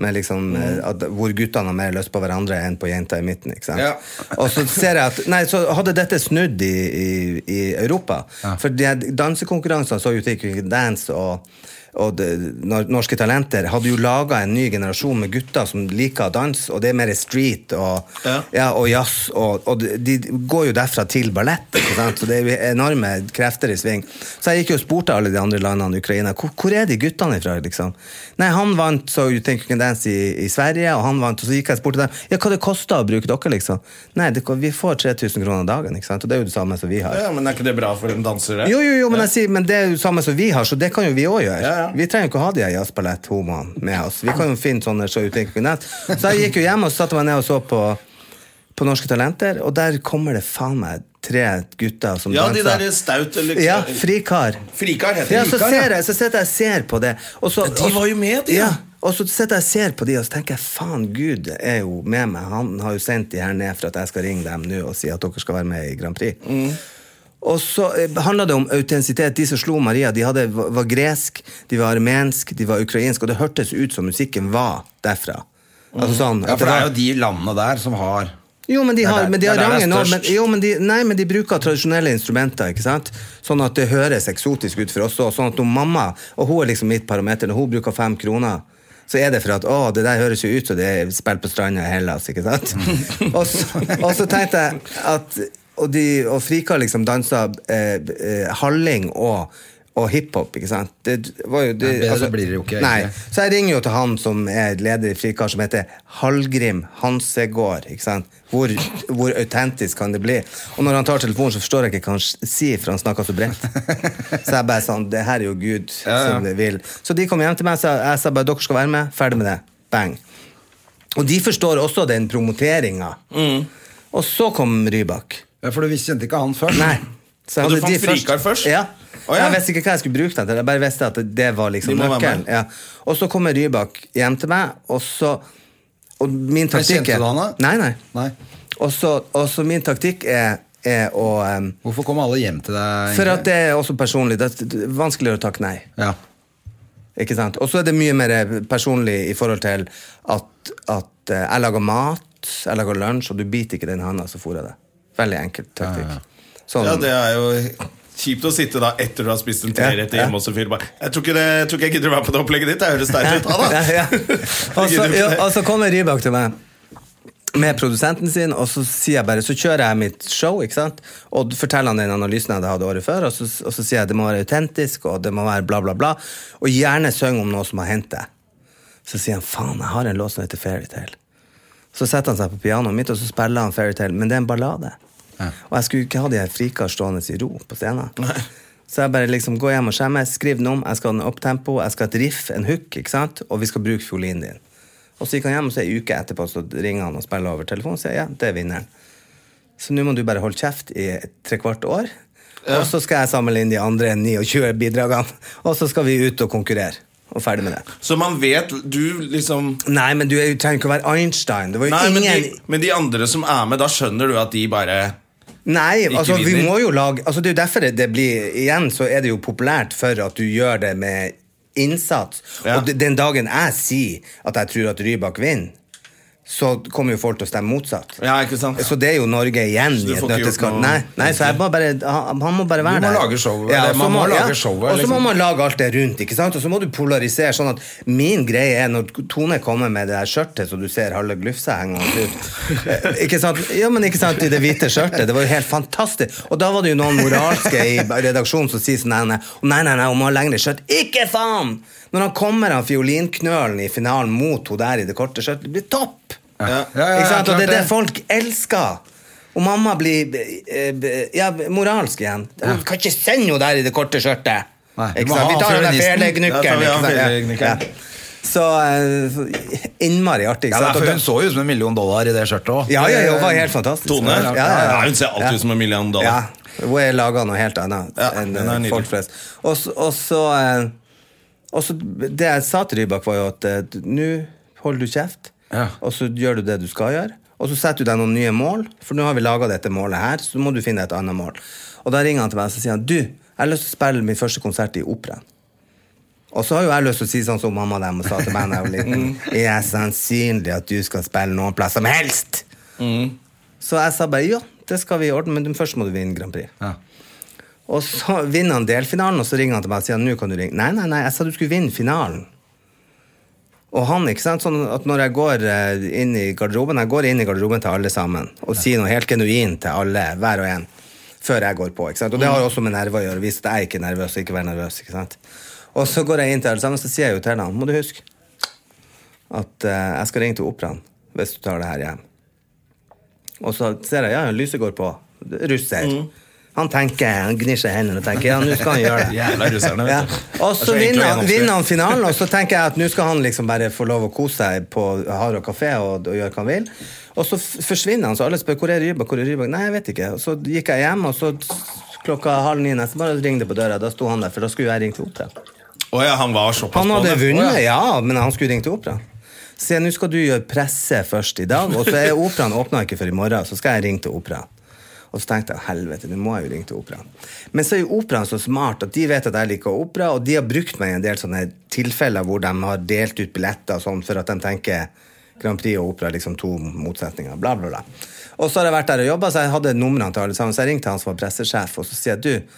Speaker 3: Med liksom, eh, at, hvor guttene har mer lyst på hverandre enn på jenta i midten. ikke sant?
Speaker 1: Ja.
Speaker 3: og så ser jeg at, nei, så hadde dette snudd i, i, i Europa. For de her dansekonkurransene så ut i Quick Dance og, og det, nor- Norske Talenter hadde jo laga en ny generasjon med gutter som liker dans, og det er mer street og, ja.
Speaker 1: Ja.
Speaker 3: og jazz. Og, og de- de går jo derfra til ballett, ikke sant? så det er jo enorme krefter i sving. Så jeg gikk jo og spurte alle de andre landene i Ukraina hvor, hvor er de guttene ifra. liksom? Nei, Han vant så You Think You Can Dance i, i Sverige, og han vant, og så gikk jeg og spurte dem ja, hva det kosta å bruke dere. liksom? Nei, det, ko- vi får 3000 kroner dagen, ikke sant? og det er jo det samme som vi har.
Speaker 1: Ja, men er ikke det bra for en danser? det?
Speaker 3: Jo, jo, jo, men, jeg sier, men det er jo samme som vi har, så det kan jo vi òg gjøre.
Speaker 1: Ja, ja.
Speaker 3: Vi trenger jo ikke å ha de her jazzballett-homoene med oss. Vi kan jo finne sånne så utenkelig nett. Så jeg gikk jo hjem og satte meg ned og så på, på Norske Talenter, og der kommer det faen meg tre gutter som
Speaker 1: Ja, de
Speaker 3: danser.
Speaker 1: der staut eller
Speaker 3: Ja, frikar.
Speaker 1: Frikar heter
Speaker 3: Ja,
Speaker 1: de.
Speaker 3: så ser jeg, så sitter jeg og ser på det. Og så,
Speaker 1: Ja, de var jo med, de, ja.
Speaker 3: ja. Og så sitter jeg og ser på de, og så tenker jeg faen, Gud er jo med meg. Han har jo sendt de her ned for at jeg skal ringe dem nå og si at dere skal være med i Grand Prix.
Speaker 1: Mm.
Speaker 3: Og så eh, handla det om autentisitet. De som slo Maria, de hadde, var var gresk, de var armensk, de var ukrainsk, og det hørtes ut som musikken var derfra. Altså
Speaker 1: Mm.
Speaker 3: sånn,
Speaker 2: Ja,
Speaker 3: at
Speaker 2: for det
Speaker 3: var-
Speaker 2: er jo de landene der som har
Speaker 3: jo, men de
Speaker 2: Det er
Speaker 3: har,
Speaker 2: der-
Speaker 3: men de
Speaker 2: det er
Speaker 3: har
Speaker 2: der det er
Speaker 3: rangen nå, men,
Speaker 2: størst.
Speaker 3: jo, men de, Nei, men de bruker tradisjonelle instrumenter, ikke sant? Sånn at det høres eksotisk ut for oss òg. Sånn at når mamma, og hun er liksom mitt parameter, når hun bruker fem kroner, så er det for at å, det der høres jo ut som det er spill på stranda i Hellas, ikke sant? og, så, og så tenkte jeg at Og, de, og Frika liksom dansa eh, eh, halling og og hiphop, ikke sant? Det var jo, det, altså,
Speaker 2: Nei, bedre blir det jo ikke,
Speaker 3: Nei,
Speaker 2: egentlig.
Speaker 3: så jeg ringer jo til han som er leder i Frikar, som heter Hallgrim Hansegård. ikke sant? Hvor, hvor autentisk kan det bli? Og når han tar telefonen, så forstår jeg ikke hva han s- sier, for han snakker så bredt. Så jeg bare sånn Det her er jo Gud som vil. Så de kom hjem til meg, så jeg sa bare dere skal være med. Ferdig med det. Bang. Og de forstår også den promoteringa.
Speaker 2: Mm.
Speaker 3: Og så kom Rybak.
Speaker 2: Ja, For du kjente ikke han først?
Speaker 3: Nei. Så jeg
Speaker 1: Og du
Speaker 3: hadde
Speaker 1: fant Frikar først?
Speaker 3: Ja.
Speaker 1: Å, ja.
Speaker 3: Jeg visste ikke hva jeg skulle bruke den til. Jeg bare visste at det var
Speaker 1: De
Speaker 3: liksom
Speaker 1: må være
Speaker 3: nøkkelen.
Speaker 1: med.
Speaker 3: Ja. Og så kommer Rybak hjem til meg, og så Og min
Speaker 2: Men
Speaker 3: taktikk
Speaker 2: kjente
Speaker 3: er-
Speaker 2: du han da?
Speaker 3: Nei, nei.
Speaker 2: Nei.
Speaker 3: Og så og så min taktikk er, er å em,
Speaker 2: Hvorfor kom alle hjem til deg? egentlig?
Speaker 3: For at det er også personlig. Det er vanskeligere å takke nei.
Speaker 2: Ja.
Speaker 3: Ikke sant? Og så er det mye mer eh, personlig i forhold til at, at eh, jeg lager mat, jeg lager lunsj, og du biter ikke den handa, så fôrer jeg deg. Veldig enkel taktikk. Sånn-
Speaker 1: Ja, det er jo kjipt å sitte da etter du har spist en treretter
Speaker 3: Ja, ja.
Speaker 1: hjemme hos en fyr bare Jeg tror ikke, det, jeg tror ikke jeg gidder å være på det opplegget ditt. Jeg høres teit ut. Ha det!
Speaker 3: Ja, ja. Og så-
Speaker 1: Gidder du ikke det?
Speaker 3: ja, Og så kommer Rybak til meg med produsenten sin, og så sier jeg bare, så kjører jeg mitt show, ikke sant? Og forteller han den analysen jeg hadde året før, og så, og så sier jeg det må være autentisk, og det må være bla, bla, bla. Og gjerne syng om noe som har hendt deg. Så sier han, faen, jeg har en låt som heter Fairytale. Så setter han seg på pianoet mitt, og så spiller han Fairytale, men det er en ballade. Og jeg skulle ikke ha de her frikar stående i ro på scenen. Så jeg bare liksom gå hjem og skjemme, skriv den om, jeg skal ha den opptempo, jeg skal ha et riff, en hook, ikke sant? og vi skal bruke fiolinen din. Og så gikk han hjem, og så en uke etterpå så ringer han og spiller over telefonen og sier ja, det er vinneren. Så nå må du bare holde kjeft i et trekvart år. Og så skal jeg samle inn de andre 29 bidragene, og så skal vi ut og konkurrere. Og ferdig med det.
Speaker 1: Så man vet Du liksom
Speaker 3: Nei, men du er jo- trenger ikke å være Einstein. Det var jo
Speaker 1: Nei, men
Speaker 3: ingen
Speaker 1: de, men de andre som er med, da skjønner du at de bare
Speaker 3: Nei, altså vi
Speaker 1: vinner.
Speaker 3: må jo lage altså, Det er jo derfor det blir Igjen så er det jo populært for at du gjør det med innsats.
Speaker 1: Ja.
Speaker 3: Og de- den dagen jeg sier at jeg tror at Rybak vinner, så kommer jo folk til å stemme motsatt.
Speaker 1: Ja, ikke sant?
Speaker 3: Så det er jo Norge igjen
Speaker 1: Så du
Speaker 3: i et
Speaker 1: får ikke gjort
Speaker 3: nøtteskall.
Speaker 1: noe-
Speaker 3: Nei, nei, så jeg må bare, han, han må bare være
Speaker 2: Du må
Speaker 3: der.
Speaker 2: lage showet, eller
Speaker 3: og så
Speaker 2: man må lage
Speaker 3: ja,
Speaker 2: showet,
Speaker 3: Og så må
Speaker 2: liksom.
Speaker 3: man lage alt det rundt, ikke sant? Og så må du polarisere sånn at min greie er når Tone kommer med det der skjørtet, så du ser halve glufsa hengende ut. Eh, Ikke sant? Ja, men ikke sant, i det hvite skjørtet. Det var jo helt fantastisk. Og da var det jo noen moralske i redaksjonen som sier sånn, nei, nei, nei, nei, nei om han har lengre skjørt. Ikke faen! Når han kommer av fiolinknølen i finalen mot hun der i det korte skjørtet, det blir topp!
Speaker 2: Ja, ja, ja,
Speaker 3: ikke
Speaker 2: klart
Speaker 3: sant? Og det er det
Speaker 2: det.
Speaker 3: folk elsker. Og mamma blir eh, eh, ja, moralsk igjen. Du kan ikke sende henne der i det korte skjørtet!
Speaker 2: Nei, du
Speaker 3: Ikke
Speaker 2: må
Speaker 3: sant?
Speaker 2: ha
Speaker 3: Vi tar den der
Speaker 2: fiolinisten.
Speaker 1: Ja, tar vi av
Speaker 3: feleknøkkelen.
Speaker 1: feleknøkkelen.
Speaker 3: Så eh, så innmari artig.
Speaker 2: Ja, det er
Speaker 3: Ikke sant?
Speaker 2: for
Speaker 3: Og
Speaker 2: hun
Speaker 3: da-
Speaker 2: så jo ut som en million dollar i det skjørtet òg.
Speaker 3: ja, ja, ja, hun var helt fantastisk.
Speaker 1: Tone?
Speaker 3: Ja, ja, ja.
Speaker 1: Nei, hun ser alltid ut som en million dollar.
Speaker 3: Ja, hun er laga noe helt annet
Speaker 1: Ja,
Speaker 3: enn
Speaker 1: den er
Speaker 3: eh,
Speaker 1: nydelig.
Speaker 3: folk flest. Og så- og så eh, og så Det jeg sa til Rybak, var jo at eh, nå holder du kjeft,
Speaker 2: Ja.
Speaker 3: og så gjør du det du skal gjøre. Og så setter du deg noen nye mål, for nå har vi laga dette målet her. Så må du finne et annet mål. Og da ringer han til meg og så sier han, du, jeg har lyst til å spille min første konsert i operaen. Og så har jo jeg lyst til å si sånn som mamma dem sa til meg da jeg var liten. Er det sannsynlig at du skal spille noen plass som helst? Så jeg sa bare ja, det skal vi ordne, men først må du vinne Grand Prix.
Speaker 2: Ja.
Speaker 3: Og så vinner han delfinalen, og så ringer han til meg og sier nå kan du ringe. Nei, nei, nei, jeg sa du skulle vinne finalen. Og han, ikke sant, sånn at når jeg går eh, inn i garderoben, jeg går inn i garderoben til alle sammen og sier noe helt genuint til alle, hver og en, før jeg går på, ikke sant. Og det har jo også med nerver å gjøre, vise at jeg ikke er nervøs, og ikke være nervøs, ikke sant. Og så går jeg inn til alle sammen, så sier jeg jo til ham, må du huske, at eh, jeg skal ringe til operaen hvis du tar det her hjem. Og så ser jeg, ja, lyset går på. Russer.
Speaker 1: Mm.
Speaker 3: Han tenker, han gnir seg i hendene og tenker, ja, nå skal han gjøre det.
Speaker 1: Jævla russerne, vet du.
Speaker 3: Ja. Og
Speaker 1: Det er
Speaker 3: så
Speaker 1: så enkelt å
Speaker 3: vinner han,
Speaker 1: gjennomskue.
Speaker 3: vinner han finalen, og så tenker jeg at nå skal han liksom bare få lov å kose seg på Haro kafé og, og gjøre hva han vil. Og så f- forsvinner han, så alle spør hvor er Rybak, hvor er Rybak? Nei, jeg vet ikke. Og så gikk jeg hjem, og så klokka halv ni nesten bare ringte på døra, da sto han der, for da skulle jeg ringe til opera.
Speaker 1: Å ja, han var såpass
Speaker 3: Han hadde
Speaker 1: på det.
Speaker 3: vunnet, ja, men han skulle ringe til operaen. Se, nå skal du gjøre presse først i dag, og så er operaen åpna ikke før i morgen, så skal jeg ringe til operaen. Og så tenkte jeg helvete, nå må jeg jo ringe til operaen. Men så er jo operaen så smart at de vet at jeg liker opera, og de har brukt meg i en del sånne tilfeller hvor de har delt ut billetter og sånn for at de tenker Grand Prix og opera er liksom to motsetninger, bla, bla, bla. Og så har jeg vært der og jobba, så jeg hadde numrene til alle sammen, så jeg ringte han som var pressesjef, og så sier jeg du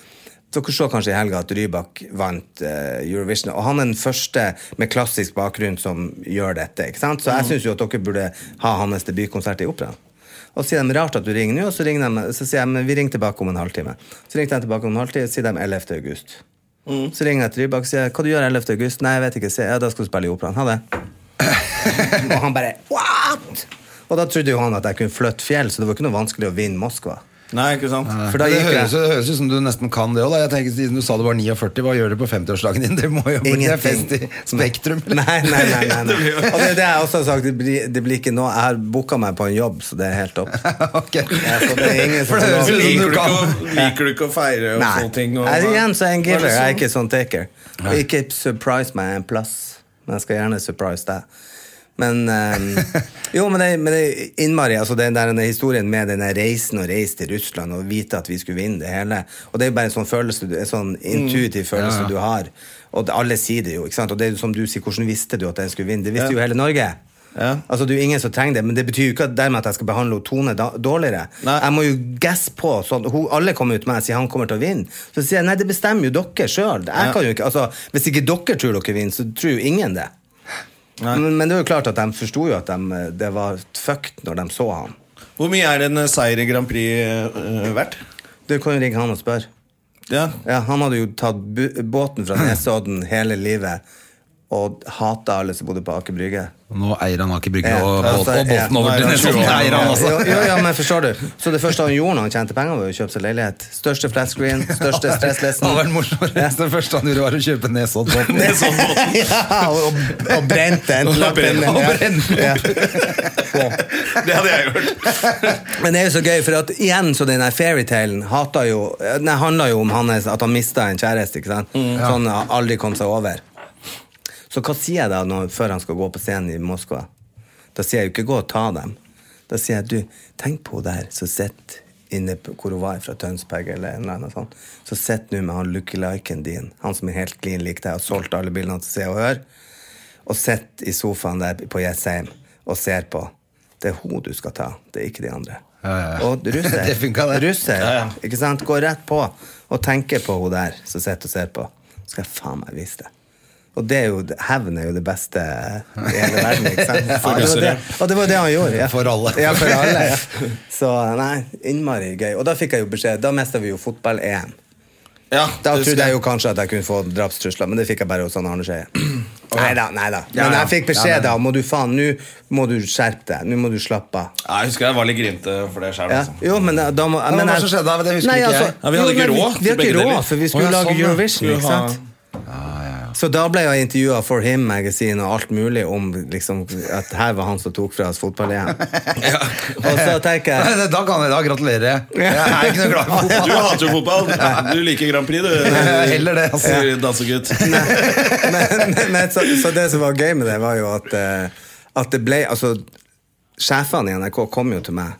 Speaker 3: dere så kanskje i helga at Rybak vant eh, Eurovision, og han er den første med klassisk bakgrunn som gjør dette. ikke sant? Så jeg syns jo at dere burde ha hans debutkonsert i operaen. Og så sier de rart at du ringer nå, og så, ringer de, så sier jeg men vi ringer tilbake om en halvtime. Så ringte jeg tilbake om en halvtime, og sier de 11. august. Så ringer jeg til Rybak og sier hva du gjør 11. august? Nei, jeg vet ikke. Sier, jeg, ja, da skal du spille i operaen. Ha det. og han bare what?! Og da trodde jo han at jeg kunne flytte fjell, så det var ikke noe vanskelig å vinne Moskva.
Speaker 1: Nei, ikke sant?
Speaker 3: For da
Speaker 2: det,
Speaker 3: gikk
Speaker 2: høres,
Speaker 3: jeg
Speaker 2: det høres ut som du nesten kan det òg. Siden du sa du var 49, hva gjør du på 50-årsdagen din? Det må jo bli en
Speaker 3: Ingenting.
Speaker 2: fest i Spektrum. eller?
Speaker 3: Nei, nei, nei. nei, nei. Og det er det jeg også har sagt. Det blir, det blir ikke noe Jeg har booka meg på en jobb, så det er helt topp.
Speaker 2: Ok.
Speaker 3: Ja, så det er ingen som
Speaker 2: For det høres
Speaker 3: tror
Speaker 2: ut som du
Speaker 1: Liker du, ikke
Speaker 2: kan
Speaker 1: å, liker du ikke å feire og
Speaker 3: Nei.
Speaker 1: sånne ting? Og,
Speaker 3: Jeg er igjen så er jeg en
Speaker 1: Hva
Speaker 3: giver.
Speaker 1: det
Speaker 3: Jeg er
Speaker 1: sånn?
Speaker 3: ikke sånn taker. Og ikke surprise meg en plass, men jeg skal gjerne surprise deg. Men eh, Jo, men det, men det er innmari altså den der den historien med den der reisen og reise til Russland og vite at vi skulle vinne det hele. Og det er jo bare en sånn følelse, du- en sånn
Speaker 1: Mm.
Speaker 3: intuitiv følelse du har. Og det- alle sier det jo, ikke sant. Og det er jo som du sier, hvordan visste du at den skulle vinne? Det visste jo hele Norge. Altså, det er jo ingen som trenger det, men det betyr jo ikke at dermed at jeg skal behandle hun Tone da, dårligere.
Speaker 1: Nei.
Speaker 3: Jeg må jo gasse på. Sånn, hun, alle kommer ut med og sier han kommer til å vinne. Så sier jeg nei, det bestemmer jo dere sjøl. Altså, hvis ikke dere tror dere vinner, så tror jo ingen det. Men, men det er jo klart at de forsto jo at de, det var fucked når de så han.
Speaker 1: Hvor mye er en eh, seier i Grand Prix eh, verdt?
Speaker 3: Du kan jo ringe han og spørre.
Speaker 1: Ja.
Speaker 3: Ja, han hadde jo tatt bu båten fra Nesodden hele livet og hata alle som bodde på Aker Brygge.
Speaker 2: Nå eier han Aker Brygge
Speaker 3: Ja,
Speaker 2: og, båt,
Speaker 3: altså,
Speaker 2: og båten
Speaker 3: ja.
Speaker 2: over til
Speaker 1: Nei,
Speaker 2: Nesodden.
Speaker 1: det
Speaker 2: eier han altså. også.
Speaker 3: Jo, jo, ja, men forstår du Så det første han gjorde når han tjente penger, var å kjøpe seg leilighet. Største flat screen, største
Speaker 2: Det hadde vært
Speaker 3: stresslesen.
Speaker 2: morsomt. Det første han gjorde, var å kjøpe Nesoddbåten.
Speaker 1: Nesoddbåten.
Speaker 3: Ja, og, og brent den.
Speaker 1: Og
Speaker 3: lagt den-
Speaker 1: brent- og
Speaker 3: ja.
Speaker 2: brent den.
Speaker 3: Ja.
Speaker 1: Det hadde jeg gjort.
Speaker 3: Men det er jo så gøy, for at igjen så den der fairytalen hata jo Den handla jo om hans, at han mista en kjæreste, ikke sant?
Speaker 2: Mm.
Speaker 3: Så han har aldri kom seg over. Så hva sier jeg da når, før han skal gå på scenen i Moskva? Da sier jeg jo ikke 'gå og ta dem'. Da sier jeg 'du, tenk på hun der som sitter inne på hvor hun var fra Tønsberg', eller en eller annen sånn. Så sitt nå med han lookaliken din, han som er helt klin lik deg, har solgt alle bildene til Se og Hør, og sitt i sofaen der på Jessheim og ser på. Det er hun du skal ta, det er ikke de andre.
Speaker 2: ja, ja.
Speaker 3: Og russer.
Speaker 2: Det funka, det.
Speaker 3: Russer, ikke sant? Gå rett på og tenker på hun der som sitter og ser på. Så skal jeg faen meg vise det. Og det er jo, hevn er jo det beste i hele verden. ikke sant? Ja, det var det, og det var det han gjorde. Ja.
Speaker 2: For alle.
Speaker 3: Ja, for alle ja. Så nei, innmari gøy. Og da fikk jeg jo beskjed. Da mista vi jo fotball-EM.
Speaker 1: Ja, det
Speaker 3: Da trodde
Speaker 1: skal-
Speaker 3: jeg jo kanskje at jeg kunne få drapstrusler, men det fikk jeg bare hos han Arne Skeie. Nei da, nei da.
Speaker 2: Ja,
Speaker 3: Men
Speaker 2: ja.
Speaker 3: jeg fikk
Speaker 2: Ja, men-
Speaker 3: beskjed da. Må du faen, nå må du skjerpe deg. Nå må du slappe av.
Speaker 1: Nei, Jeg husker jeg var litt grinte for det altså. sjøl.
Speaker 3: Ja. Jo, men eh, da, da må
Speaker 2: liksom. hva
Speaker 3: men
Speaker 2: var det
Speaker 3: jeg-
Speaker 2: som skjedde da? Det husker
Speaker 3: Nei, altså,
Speaker 2: ikke jeg.
Speaker 1: Ja, vi hadde
Speaker 3: jo,
Speaker 1: ikke
Speaker 3: men
Speaker 1: råd
Speaker 3: Vi,
Speaker 1: til
Speaker 3: vi hadde
Speaker 1: begge
Speaker 3: ikke
Speaker 1: deler.
Speaker 3: råd, for vi skulle
Speaker 2: Å, ja,
Speaker 3: lage
Speaker 2: sånn, ja.
Speaker 3: Eurovision,
Speaker 1: Skulle
Speaker 3: ikke
Speaker 1: ha-
Speaker 3: sant? Så da ble jeg intervjua for Him Magazine og alt mulig om liksom, at her var han som tok fra oss fotball-EM. Og så tenker jeg
Speaker 2: Nei, Da kan jeg da gratulerer jeg. Jeg er ikke noe glad i fotball.
Speaker 1: Du hater jo fotball. Du liker Grand Prix, du.
Speaker 2: Heller det, altså.
Speaker 1: sier Dansegutt.
Speaker 3: men, men, men så, så det som var gøy med det, var jo at, eh, at det ble Altså, sjefene i NRK kom jo til meg.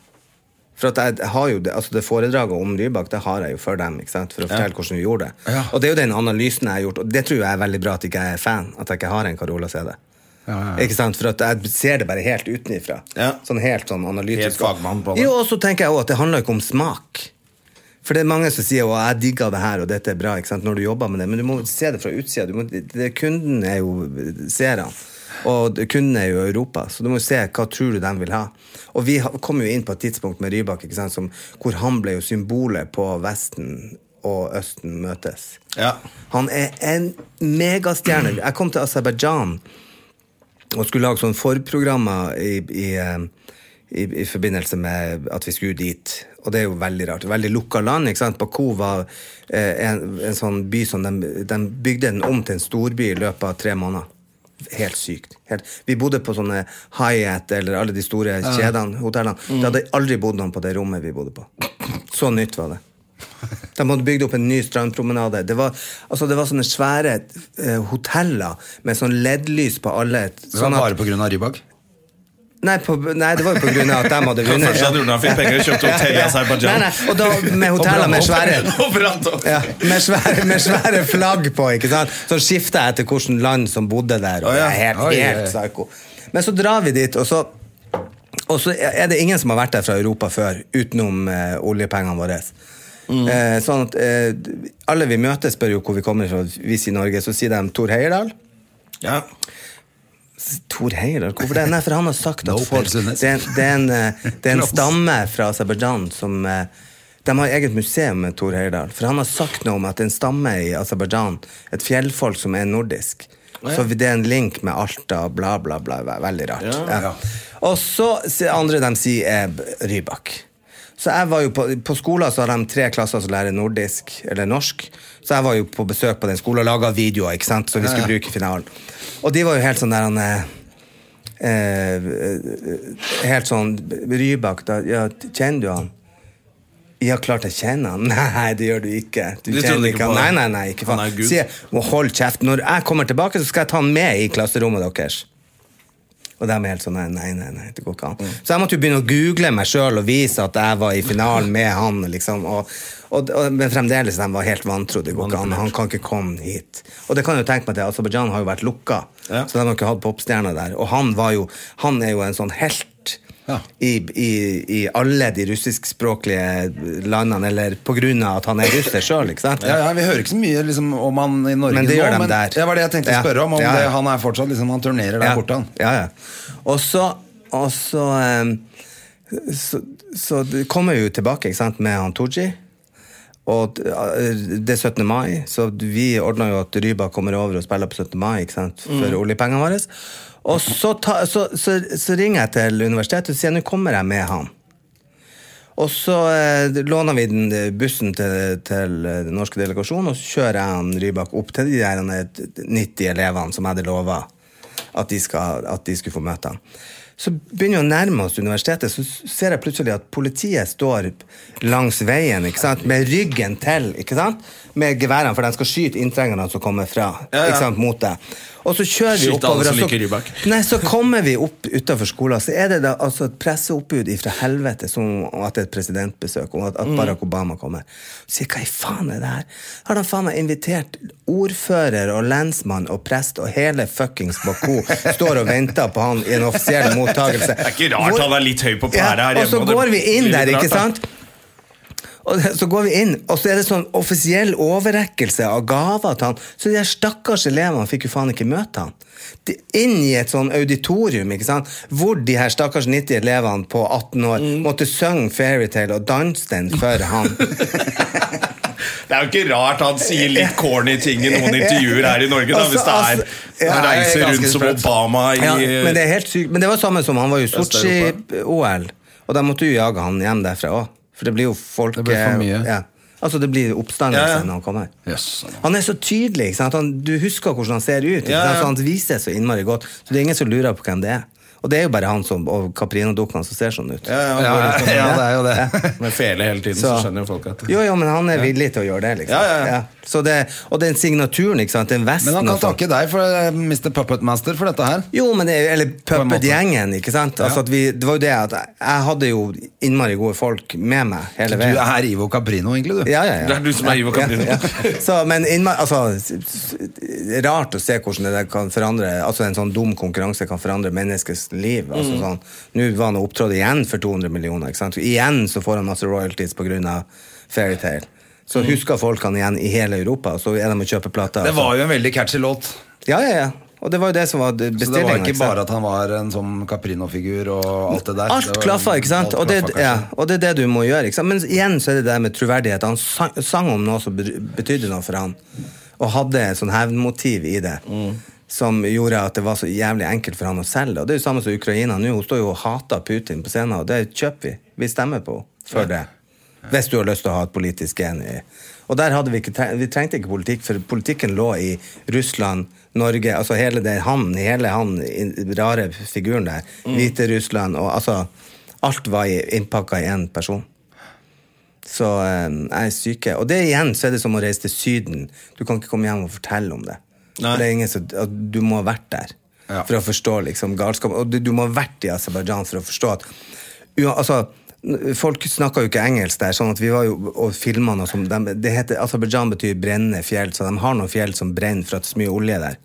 Speaker 3: For at jeg har jo det, altså det foredraget om Rybak det har jeg jo for dem. ikke sant? For å fortelle hvordan vi gjorde det.
Speaker 2: Ja.
Speaker 3: Og det er jo den analysen jeg har gjort, og det tror jeg er veldig bra at ikke jeg er fan. At jeg ikke har en Carola-CD. Ikke sant? For at jeg ser det bare helt utenifra.
Speaker 1: Ja.
Speaker 3: Sånn helt sånn analytisk.
Speaker 1: Helt fagmann på det.
Speaker 3: Jo, og så tenker jeg også at det handler ikke om smak. For det er mange som sier at jeg digger det her, og dette er bra, ikke sant? når du jobber med det, men du må se det fra utsida. Du må, det, det, kunden er jo seerne, og det- kunden er jo Europa, så du må se hva tror du de vil ha. Og vi ha- kom jo inn på et tidspunkt med Rybak, ikke sant? Som, hvor han ble jo symbolet på Vesten og Østen møtes.
Speaker 1: Ja.
Speaker 3: Han er en megastjerne. Jeg kom til Aserbajdsjan og skulle lage sånne forprogrammer i, i, eh, i, i forbindelse med at vi skulle dit. Og det er jo veldig rart. Veldig lukka land. ikke sant? Baku var eh, en, en sånn by som de, de bygde den om til en storby i løpet av tre måneder. Helt sykt. Helt. Vi bodde på sånne Hyatt eller alle de store kjedene, hotellene. Det hadde aldri bodd noen på det rommet vi bodde på. Så nytt var det. De hadde bygd opp en ny strandpromenade. Det var, altså, det var sånne svære eh, hoteller med sånn LED-lys på alle.
Speaker 2: Det var
Speaker 3: sånn at-
Speaker 2: bare på grunn av Rybak.
Speaker 3: Nei, på, nei, det var jo på grunn av at de hadde
Speaker 1: Først
Speaker 3: vunnet. ja.
Speaker 1: hadde Runa fikk penger og kjøpte hotell i
Speaker 3: Nei,
Speaker 1: Aserbajdsjan.
Speaker 3: nei, og da med hoteller med svære
Speaker 1: Og brant opp.
Speaker 3: ja, med, svære, med svære flagg på, ikke sant? Så skifta jeg etter hvilket land som bodde der. Og
Speaker 1: Å, ja.
Speaker 3: det er helt,
Speaker 2: Oi,
Speaker 3: helt
Speaker 2: oi.
Speaker 3: psyko. Men så drar vi dit, og så, og så er det ingen som har vært der fra Europa før, utenom eh, oljepengene våre.
Speaker 2: Mm.
Speaker 3: Eh, sånn at eh, Alle vi møter, spør jo hvor vi kommer fra. Vi sier Norge. Så sier de Tor Heyerdahl.
Speaker 1: Ja.
Speaker 3: Tor Heyerdahl? Hvorfor det? Nei, for han har sagt at
Speaker 2: No
Speaker 3: folk,
Speaker 2: offense, Nes.
Speaker 3: det, er, det, er en, eh, det er en
Speaker 2: Close.
Speaker 3: stamme fra Aserbajdsjan som eh, De har eget museum med Tor Heyerdahl. For han har sagt noe om at det er en stamme i Aserbajdsjan, et fjellfolk som er nordisk. Så det er en link med Alta, bla, bla, bla. ve- Veldig rart. Ja. Og så det andre de sier, er B- Rybak. Så jeg var jo på, på skolen så har de tre klasser som lærer nordisk, eller norsk. Så jeg var jo på besøk på den skolen og laga videoer ikke sant? som vi skulle bruke i finalen. Og de var jo helt sånn der han eh, eh, helt sånn Rybak, da, ja, kjenner du han? Ja, klart jeg kjenner han. Nei, det gjør du ikke. Du
Speaker 1: Du
Speaker 3: kjenner
Speaker 1: trodde ikke
Speaker 3: ikke han.
Speaker 1: på
Speaker 3: Nei,
Speaker 1: det.
Speaker 3: nei, nei, ikke faen.
Speaker 1: Han er Gud.
Speaker 3: Sier, «Å, hold kjeft. Når jeg kommer tilbake, så skal jeg ta han med i klasserommet deres. Og de er helt sånn nei, nei, nei, nei, det går ikke
Speaker 2: Mm.
Speaker 3: an. Så jeg måtte jo begynne å google meg sjøl og vise at jeg var i finalen med han. liksom og, og, og, Men fremdeles, de var helt vantro. Det går ikke an. Han kan ikke komme hit. Og det kan jeg jo tenke meg til, Aserbajdsjan har jo vært lukka,
Speaker 1: Ja.
Speaker 3: så de har ikke hatt popstjerner der. Og han, var jo, han er jo en sånn helt
Speaker 2: Ja.
Speaker 3: i, i, I alle de russiskspråklige landene, eller på grunn av at han er russer sjøl, ikke sant?
Speaker 2: Ja, ja, vi hører ikke så mye liksom, om han i Norge
Speaker 3: Men det gjør
Speaker 2: nå,
Speaker 3: de der.
Speaker 2: det var det jeg tenkte å
Speaker 3: Ja.
Speaker 2: spørre om. om
Speaker 3: Ja, ja.
Speaker 2: det, han er fortsatt liksom, Han turnerer der borte, han.
Speaker 3: Ja, ja. Og så, og så, em, så, så det kommer vi jo tilbake ikke sant, med han Tooji. Og eh, det er 17. mai, så vi ordna jo at Ryba kommer over og spiller på 17. mai ikke sant? for oljepengene våre. Og så, ta, så, så, så ringer jeg til universitetet og sier nå kommer jeg med han. Og så eh, låner vi den eh, bussen til, til eh, den norske delegasjonen, og så kjører jeg han Rybak opp til de der han er t- 90 elevene som jeg hadde lova at, de skal- at de skulle få møte han. Så begynner vi å nærme oss universitetet, så s- ser jeg plutselig at politiet står langs veien ikke sant? med ryggen til, ikke sant? med geværene, for de skal skyte inntrengerne som kommer fra.
Speaker 1: Ja, ja.
Speaker 3: Ikke sant? mot deg. Og så kjører vi
Speaker 1: Skyt alle
Speaker 3: oppover.
Speaker 1: som
Speaker 3: og så-
Speaker 1: liker Rybak.
Speaker 3: Nei, så kommer vi opp utenfor skolen, så er det da altså et presseoppbud ifra helvete som om at det er et presidentbesøk, og at,
Speaker 1: Mm.
Speaker 3: at Barack Obama kommer. Så sier jeg, hva i faen er det her? Har de faen meg invitert ordfører og lensmann og prest og hele fuckings Baku står og venter på han i en offisiell mottakelse.
Speaker 1: Det er ikke rart han er litt høy på pæra her
Speaker 3: Og så
Speaker 1: hjemme, og det
Speaker 3: går vi inn
Speaker 1: blir litt
Speaker 3: der,
Speaker 1: rart,
Speaker 3: ikke
Speaker 1: da.
Speaker 3: sant? Og det- så går vi inn, og så er det sånn offisiell overrekkelse av gaver til han. Så de her stakkars elevene fikk jo faen ikke møte han. De, inn i et sånn auditorium, ikke sant? hvor de her stakkars 90 elevene på 18 år
Speaker 1: Mm.
Speaker 3: måtte synge fairytale og danse den for han.
Speaker 1: Det er jo ikke rart han sier litt corny ting i noen intervjuer her i Norge, da,
Speaker 3: Altså,
Speaker 1: hvis det er
Speaker 3: altså, ja,
Speaker 1: Han
Speaker 2: jeg
Speaker 1: reiser
Speaker 2: er ganske
Speaker 1: rundt som
Speaker 2: sprøtt.
Speaker 1: Obama i
Speaker 3: Ja, men det er helt sykt. Men det var samme som han var jo i Sotsji-OL, og da måtte jo jage han hjem derfra òg. For det blir jo folk
Speaker 2: Det blir for mye.
Speaker 3: Ja. Altså, det blir oppstandelse
Speaker 1: Ja, ja.
Speaker 3: når han kommer.
Speaker 2: Jøss.
Speaker 3: Han er så tydelig. Ikke sant? Han, du husker hvordan han ser ut. Ikke sant?
Speaker 1: Ja, ja.
Speaker 3: Så han viser så innmari godt. Så det er ingen som lurer på hvem det er. Og det er jo bare han som, og Caprino-dukkene som ser sånn ut.
Speaker 1: Ja,
Speaker 2: Ja,
Speaker 1: ja,
Speaker 2: ja, ja, det er jo det.
Speaker 1: Med fele hele tiden, så,
Speaker 3: Så-
Speaker 1: skjønner jo folk at
Speaker 3: Jo, jo, men han er villig til å gjøre det, liksom.
Speaker 1: Ja, ja, ja.
Speaker 3: Så det, og den signaturen, ikke sant. Den vesten
Speaker 2: Men han kan
Speaker 3: og sånn.
Speaker 2: takke deg, for eh, Mr. Puppet Master, for dette her.
Speaker 3: Jo, men det, er- eller
Speaker 2: en måte.
Speaker 3: puppet-gjengen, ikke sant. Altså, at vi, det var jo det at jeg, jeg hadde jo innmari gode folk med meg hele
Speaker 2: Du
Speaker 3: veien.
Speaker 2: er Ivo Caprino, egentlig, du.
Speaker 3: Ja, ja, ja.
Speaker 1: Det er du som er Ivo Caprino.
Speaker 3: Ja, ja. Så, men innmari, altså, s- s- rart å se hvordan det der kan forandre Altså en sånn dum konkurranse kan forandre menneskets liv. Altså, sånn, Nå var han og opptrådte igjen for 200 millioner. Ikke sant? Igjen så får han masse royalties pga. Fairytale. Så husker folk han igjen i hele Europa, og så er de og kjøper plater. altså.
Speaker 2: Det var jo en veldig catchy låt.
Speaker 3: Ja, ja, ja. Og det var jo det som var
Speaker 2: Så det var
Speaker 3: bestillinga.
Speaker 2: ikke bare at han var en sånn Caprino-figur og alt det der. Det
Speaker 3: Alt
Speaker 2: var-
Speaker 3: klaffa, ikke sant?
Speaker 2: alt
Speaker 3: Og det,
Speaker 2: klaffa,
Speaker 3: ja,
Speaker 2: kanskje.
Speaker 3: og det er det du må gjøre. Ikke sant? Men igjen så er det det med troverdighet. Han sang, sang om noe som bet- betydde noe for han, og hadde et sånn hevnmotiv i det.
Speaker 2: Mm.
Speaker 3: Som gjorde at det var så jævlig enkelt for han å selge. Og det er jo samme som Ukraina nå. Hun står jo og hater Putin på scenen, og det kjøper vi. Vi stemmer på henne for det. Hvis du har lyst til å ha et politisk gen i Og der hadde vi ikke tre- Vi trengte ikke politikk, for politikken lå i Russland, Norge Altså hele den han, hele han i- rare figuren der. Hviterussland og altså Alt var i- innpakka i én person. Så eh, jeg er syke. Og det igjen så er det som å reise til Syden. Du kan ikke komme hjem og fortelle om det.
Speaker 1: Nei.
Speaker 3: For Det er ingen som, at du må ha vært der
Speaker 2: Ja.
Speaker 3: for å forstå liksom, galskapen. Og du, du må ha vært i Aserbajdsjan for å forstå at ja, altså, n- Folk snakka jo ikke engelsk der, sånn at vi var jo og filma noe som de, det heter, Aserbajdsjan betyr brennende fjell, så de har noen fjell som brenner for at det er så mye olje der.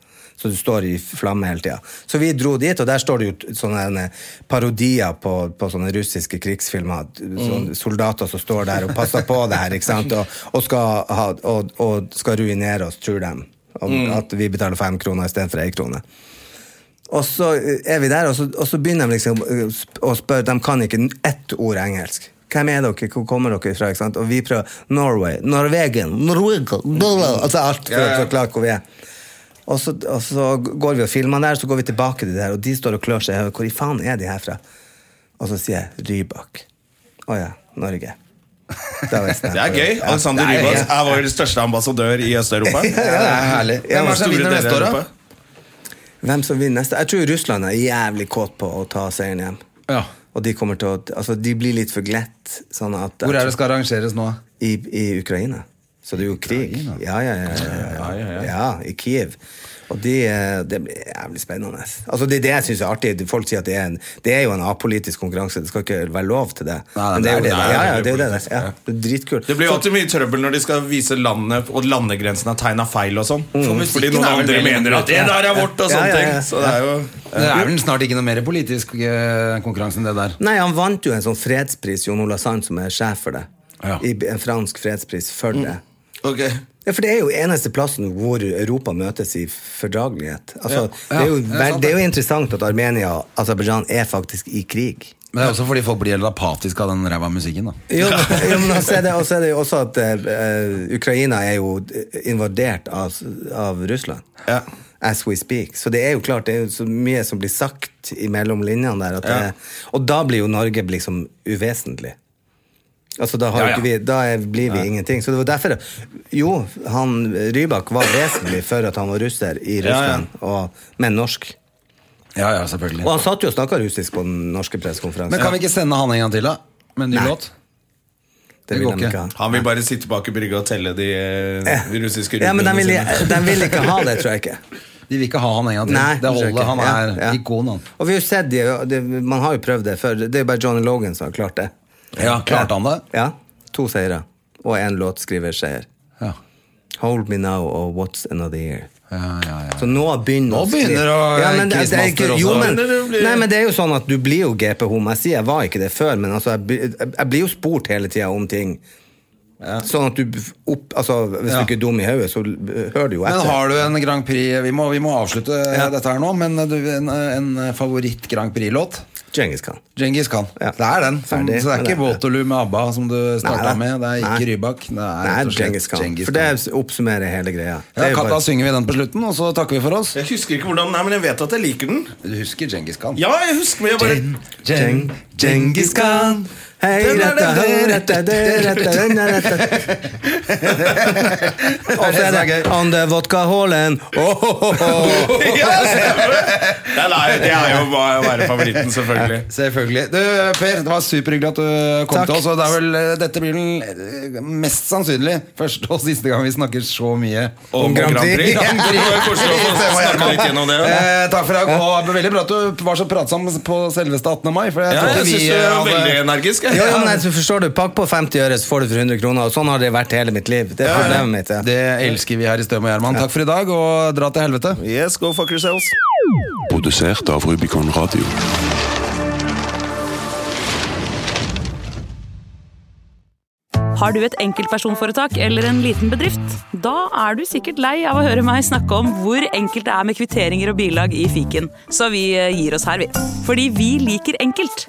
Speaker 3: Så du står i flamme hele tida. Så vi dro dit, og der står det jo t- sånne herne parodier på, på sånne russiske krigsfilmer. at Sånne soldater som står der og passer på det her, ikke sant? Og, og, skal, ha, og, og skal ruinere oss, tror de. Om, At vi betaler fem kroner istedenfor ei krone. Og så eh, er vi der, og så, og så begynner de liksom eh, sp- å spørre De kan ikke n- ett ord engelsk. Hvem er dere? Hvor kommer dere fra? Ikke sant? Og vi prøver Norway, Norwegian, Norwegian blablabla. Altså alt for å forklare hvor vi er. Og så, og så går vi og filmer der, så går vi tilbake til det her, og de står og klør seg. i hodet. Hvor i faen er de herfra? Og så sier jeg Rybak. Å ja, Norge. Da visste jeg.
Speaker 1: Det er gøy.
Speaker 3: Ja.
Speaker 1: Alexander
Speaker 3: Det er
Speaker 1: Rybak
Speaker 3: helt-
Speaker 1: er vår største ambassadør i Øst-Europa.
Speaker 2: Ja, det er herlig.
Speaker 3: Ja,
Speaker 2: Hvem er det som
Speaker 1: Store
Speaker 2: vinner
Speaker 1: deler
Speaker 2: neste
Speaker 1: av
Speaker 2: år, da?
Speaker 1: Europa.
Speaker 3: Hvem som vinner neste? Jeg tror Russland er jævlig kåt på å ta seieren hjem.
Speaker 2: Ja.
Speaker 3: Og de kommer til å Altså, de blir litt for glatt. Sånn at
Speaker 2: Hvor er det skal arrangeres nå?
Speaker 3: I, I Ukraina. Så det er jo krig. Ja, ja, ja. ja, ja, ja, I Kiev. Og de, eh, det blir jævlig spennende. Altså Det er det jeg syns er artig. Folk sier at det er, en, det er jo en apolitisk konkurranse. Det skal ikke være lov til det.
Speaker 2: Nei,
Speaker 3: Men det er jo det.
Speaker 1: nei,
Speaker 3: det- Ja, ja,
Speaker 1: det
Speaker 3: det
Speaker 1: blir
Speaker 3: er jo det. det.
Speaker 1: politisk,
Speaker 3: Ja,
Speaker 1: ja.
Speaker 3: det er dritkult.
Speaker 1: Det blir jo
Speaker 3: Så-
Speaker 1: alltid mye trøbbel når de skal vise landet, og landegrensen er tegna feil og sånn. Fordi
Speaker 2: musikken
Speaker 1: noen
Speaker 2: er vel
Speaker 1: andre
Speaker 2: veldig
Speaker 1: mener at det der er vårt, og
Speaker 3: Mm. Ja,
Speaker 1: sånne
Speaker 3: ja,
Speaker 1: ting.
Speaker 3: ja.
Speaker 1: Så det er jo
Speaker 2: Eh, Det er vel snart ikke noe mer politisk eh, konkurranse enn det der.
Speaker 3: Nei, han vant jo en sånn fredspris, Jon Ola Sand, som er sjef for det.
Speaker 2: Ja.
Speaker 3: I, en fransk fredspris for det.
Speaker 1: Ok.
Speaker 3: Ja, for det er jo eneste plassen hvor Europa møtes i fordragelighet. Altså,
Speaker 2: Ja.
Speaker 3: det, er jo,
Speaker 2: Ja, det er sant,
Speaker 3: det er jo
Speaker 2: det.
Speaker 3: interessant at Armenia og Aserbajdsjan er faktisk i krig.
Speaker 2: Men det er også fordi folk blir helt apatiske av den ræva musikken. da
Speaker 3: Jo, men- jo, men også er det, også er det jo også at eh, Ukraina er jo eh, invadert av, av Russland.
Speaker 1: Ja.
Speaker 3: As we speak. Så det er jo klart, det er jo så mye som blir sagt mellom linjene der. At
Speaker 1: Ja.
Speaker 3: det, og da blir jo Norge liksom uvesentlig. Altså, da, har
Speaker 1: Ja, ja.
Speaker 3: Ikke vi, da er, blir vi ingenting. Så det var derfor Jo, han Rybak var vesentlig for at han var russer i
Speaker 1: ja.
Speaker 3: Russland, Og, men norsk.
Speaker 2: Ja, ja, selvfølgelig
Speaker 3: Og han satt jo og snakka russisk på den norske pressekonferansen.
Speaker 2: Men kan vi ikke sende han en gang til, da? Med en ny låt?
Speaker 3: det
Speaker 2: vi
Speaker 3: vil
Speaker 2: går
Speaker 3: de
Speaker 2: ikke.
Speaker 3: ikke ha.
Speaker 1: Han vil bare sitte bak i brygga og telle de, eh, de russiske
Speaker 3: Ja, men de vil,
Speaker 1: rublene sine.
Speaker 3: de vil ikke ha det, tror jeg ikke.
Speaker 2: De vil ikke ha han en gang til.
Speaker 3: Nei,
Speaker 2: det
Speaker 3: tror jeg
Speaker 2: holder.
Speaker 3: ikke.
Speaker 2: Han er
Speaker 3: Ja, ja.
Speaker 2: ikon, han.
Speaker 3: Og vi har jo sett det, og det, man har jo prøvd det før. Det er jo bare Johnny Logan som har klart det.
Speaker 2: Ja, klarte han det?
Speaker 3: Ja. To seire. Og én låtskriverseier.
Speaker 2: Ja.
Speaker 3: Hold Me Now og What's Another Year.
Speaker 2: Ja, ja, ja.
Speaker 3: Så nå begynner
Speaker 2: Nå
Speaker 3: å skrive.
Speaker 2: begynner å-
Speaker 3: men det- det er ikke-
Speaker 2: Quizmaster også.
Speaker 3: Jo, men,
Speaker 1: Begynner det å bli-
Speaker 3: nei, men det er jo sånn at du blir jo GP-homo. Jeg sier jeg var ikke det før, men altså, jeg, blir- jeg, jeg blir jo spurt hele tida om ting. Sånn at du opp, altså, Hvis
Speaker 2: Ja.
Speaker 3: du ikke er dum i hodet, så eh, hører du jo
Speaker 2: Men
Speaker 3: etter.
Speaker 2: har du en Grand Prix Vi må, vi må avslutte dette her nå, men du, en, en favoritt Grand Prix-låt?
Speaker 3: Djengis Khan.
Speaker 2: Genghis Khan.
Speaker 3: Ja.
Speaker 2: Det er den. Som,
Speaker 3: Ferdig
Speaker 2: så det er
Speaker 3: med
Speaker 2: ikke
Speaker 3: det.
Speaker 2: Waterloo med ABBA som du starta
Speaker 3: Nei,
Speaker 2: med. Det er ikke
Speaker 3: nei.
Speaker 2: Rybak. Det er,
Speaker 3: Nei,
Speaker 2: rett og slett
Speaker 3: Djengis Khan.
Speaker 2: Genghis
Speaker 3: For
Speaker 2: Khan.
Speaker 3: det oppsummerer hele greia. Det
Speaker 2: Ja,
Speaker 3: er jo
Speaker 2: Katta
Speaker 3: bare-
Speaker 2: synger vi den på slutten, og så takker vi for oss.
Speaker 1: Jeg husker ikke hvordan Nei, men jeg vet at jeg liker den.
Speaker 2: Du husker Genghis Khan?
Speaker 1: Ja, jeg husker, men jeg bare
Speaker 3: Geng- Genghis Khan. Hei,
Speaker 1: Den er
Speaker 3: retta,
Speaker 1: det.
Speaker 3: hei, retta, det, retta, den er retta. Og så er det Ande vodka hålen.
Speaker 1: ja, stemmer det! Nei, nei, det er jo å være favoritten, selvfølgelig.
Speaker 2: Selvfølgelig. Du, Per, det var superhyggelig at du kom
Speaker 3: Takk.
Speaker 2: til oss. Og det er vel, eh, dette blir den eh, mest sannsynlig første og siste gang vi snakker så mye
Speaker 1: Og
Speaker 2: om
Speaker 1: Grand
Speaker 2: Grand Prix.
Speaker 1: Prix. Grand Prix. Det var koselig å få snakke litt gjennom det, ja.
Speaker 2: Eh, takk for i dag. Og det var veldig bra at du var så pratsom på selveste 18. mai. For jeg
Speaker 1: Ja,
Speaker 2: tror ikke
Speaker 1: jeg syns
Speaker 2: vi
Speaker 1: du
Speaker 2: eh,
Speaker 1: er
Speaker 2: hadde-
Speaker 1: veldig energisk.
Speaker 3: Jo, jo,
Speaker 1: jeg.
Speaker 3: men jeg tror- forstår du, Pakk på 50 øre, så får du for 100 kroner. Og sånn har det vært hele mitt liv. Det er problemet mitt. Ja.
Speaker 2: Det elsker vi her i Støm og Gjerman. Takk for i dag, og dra til helvete.
Speaker 1: Yes, go fuck yourselves.
Speaker 4: Produsert av Rubicon Radio.
Speaker 5: Har du et enkeltpersonforetak eller en liten bedrift? Da er du sikkert lei av å høre meg snakke om hvor enkelt det er med kvitteringer og bilag i fiken, så vi eh, gir oss her, vi. Fordi vi liker enkelt.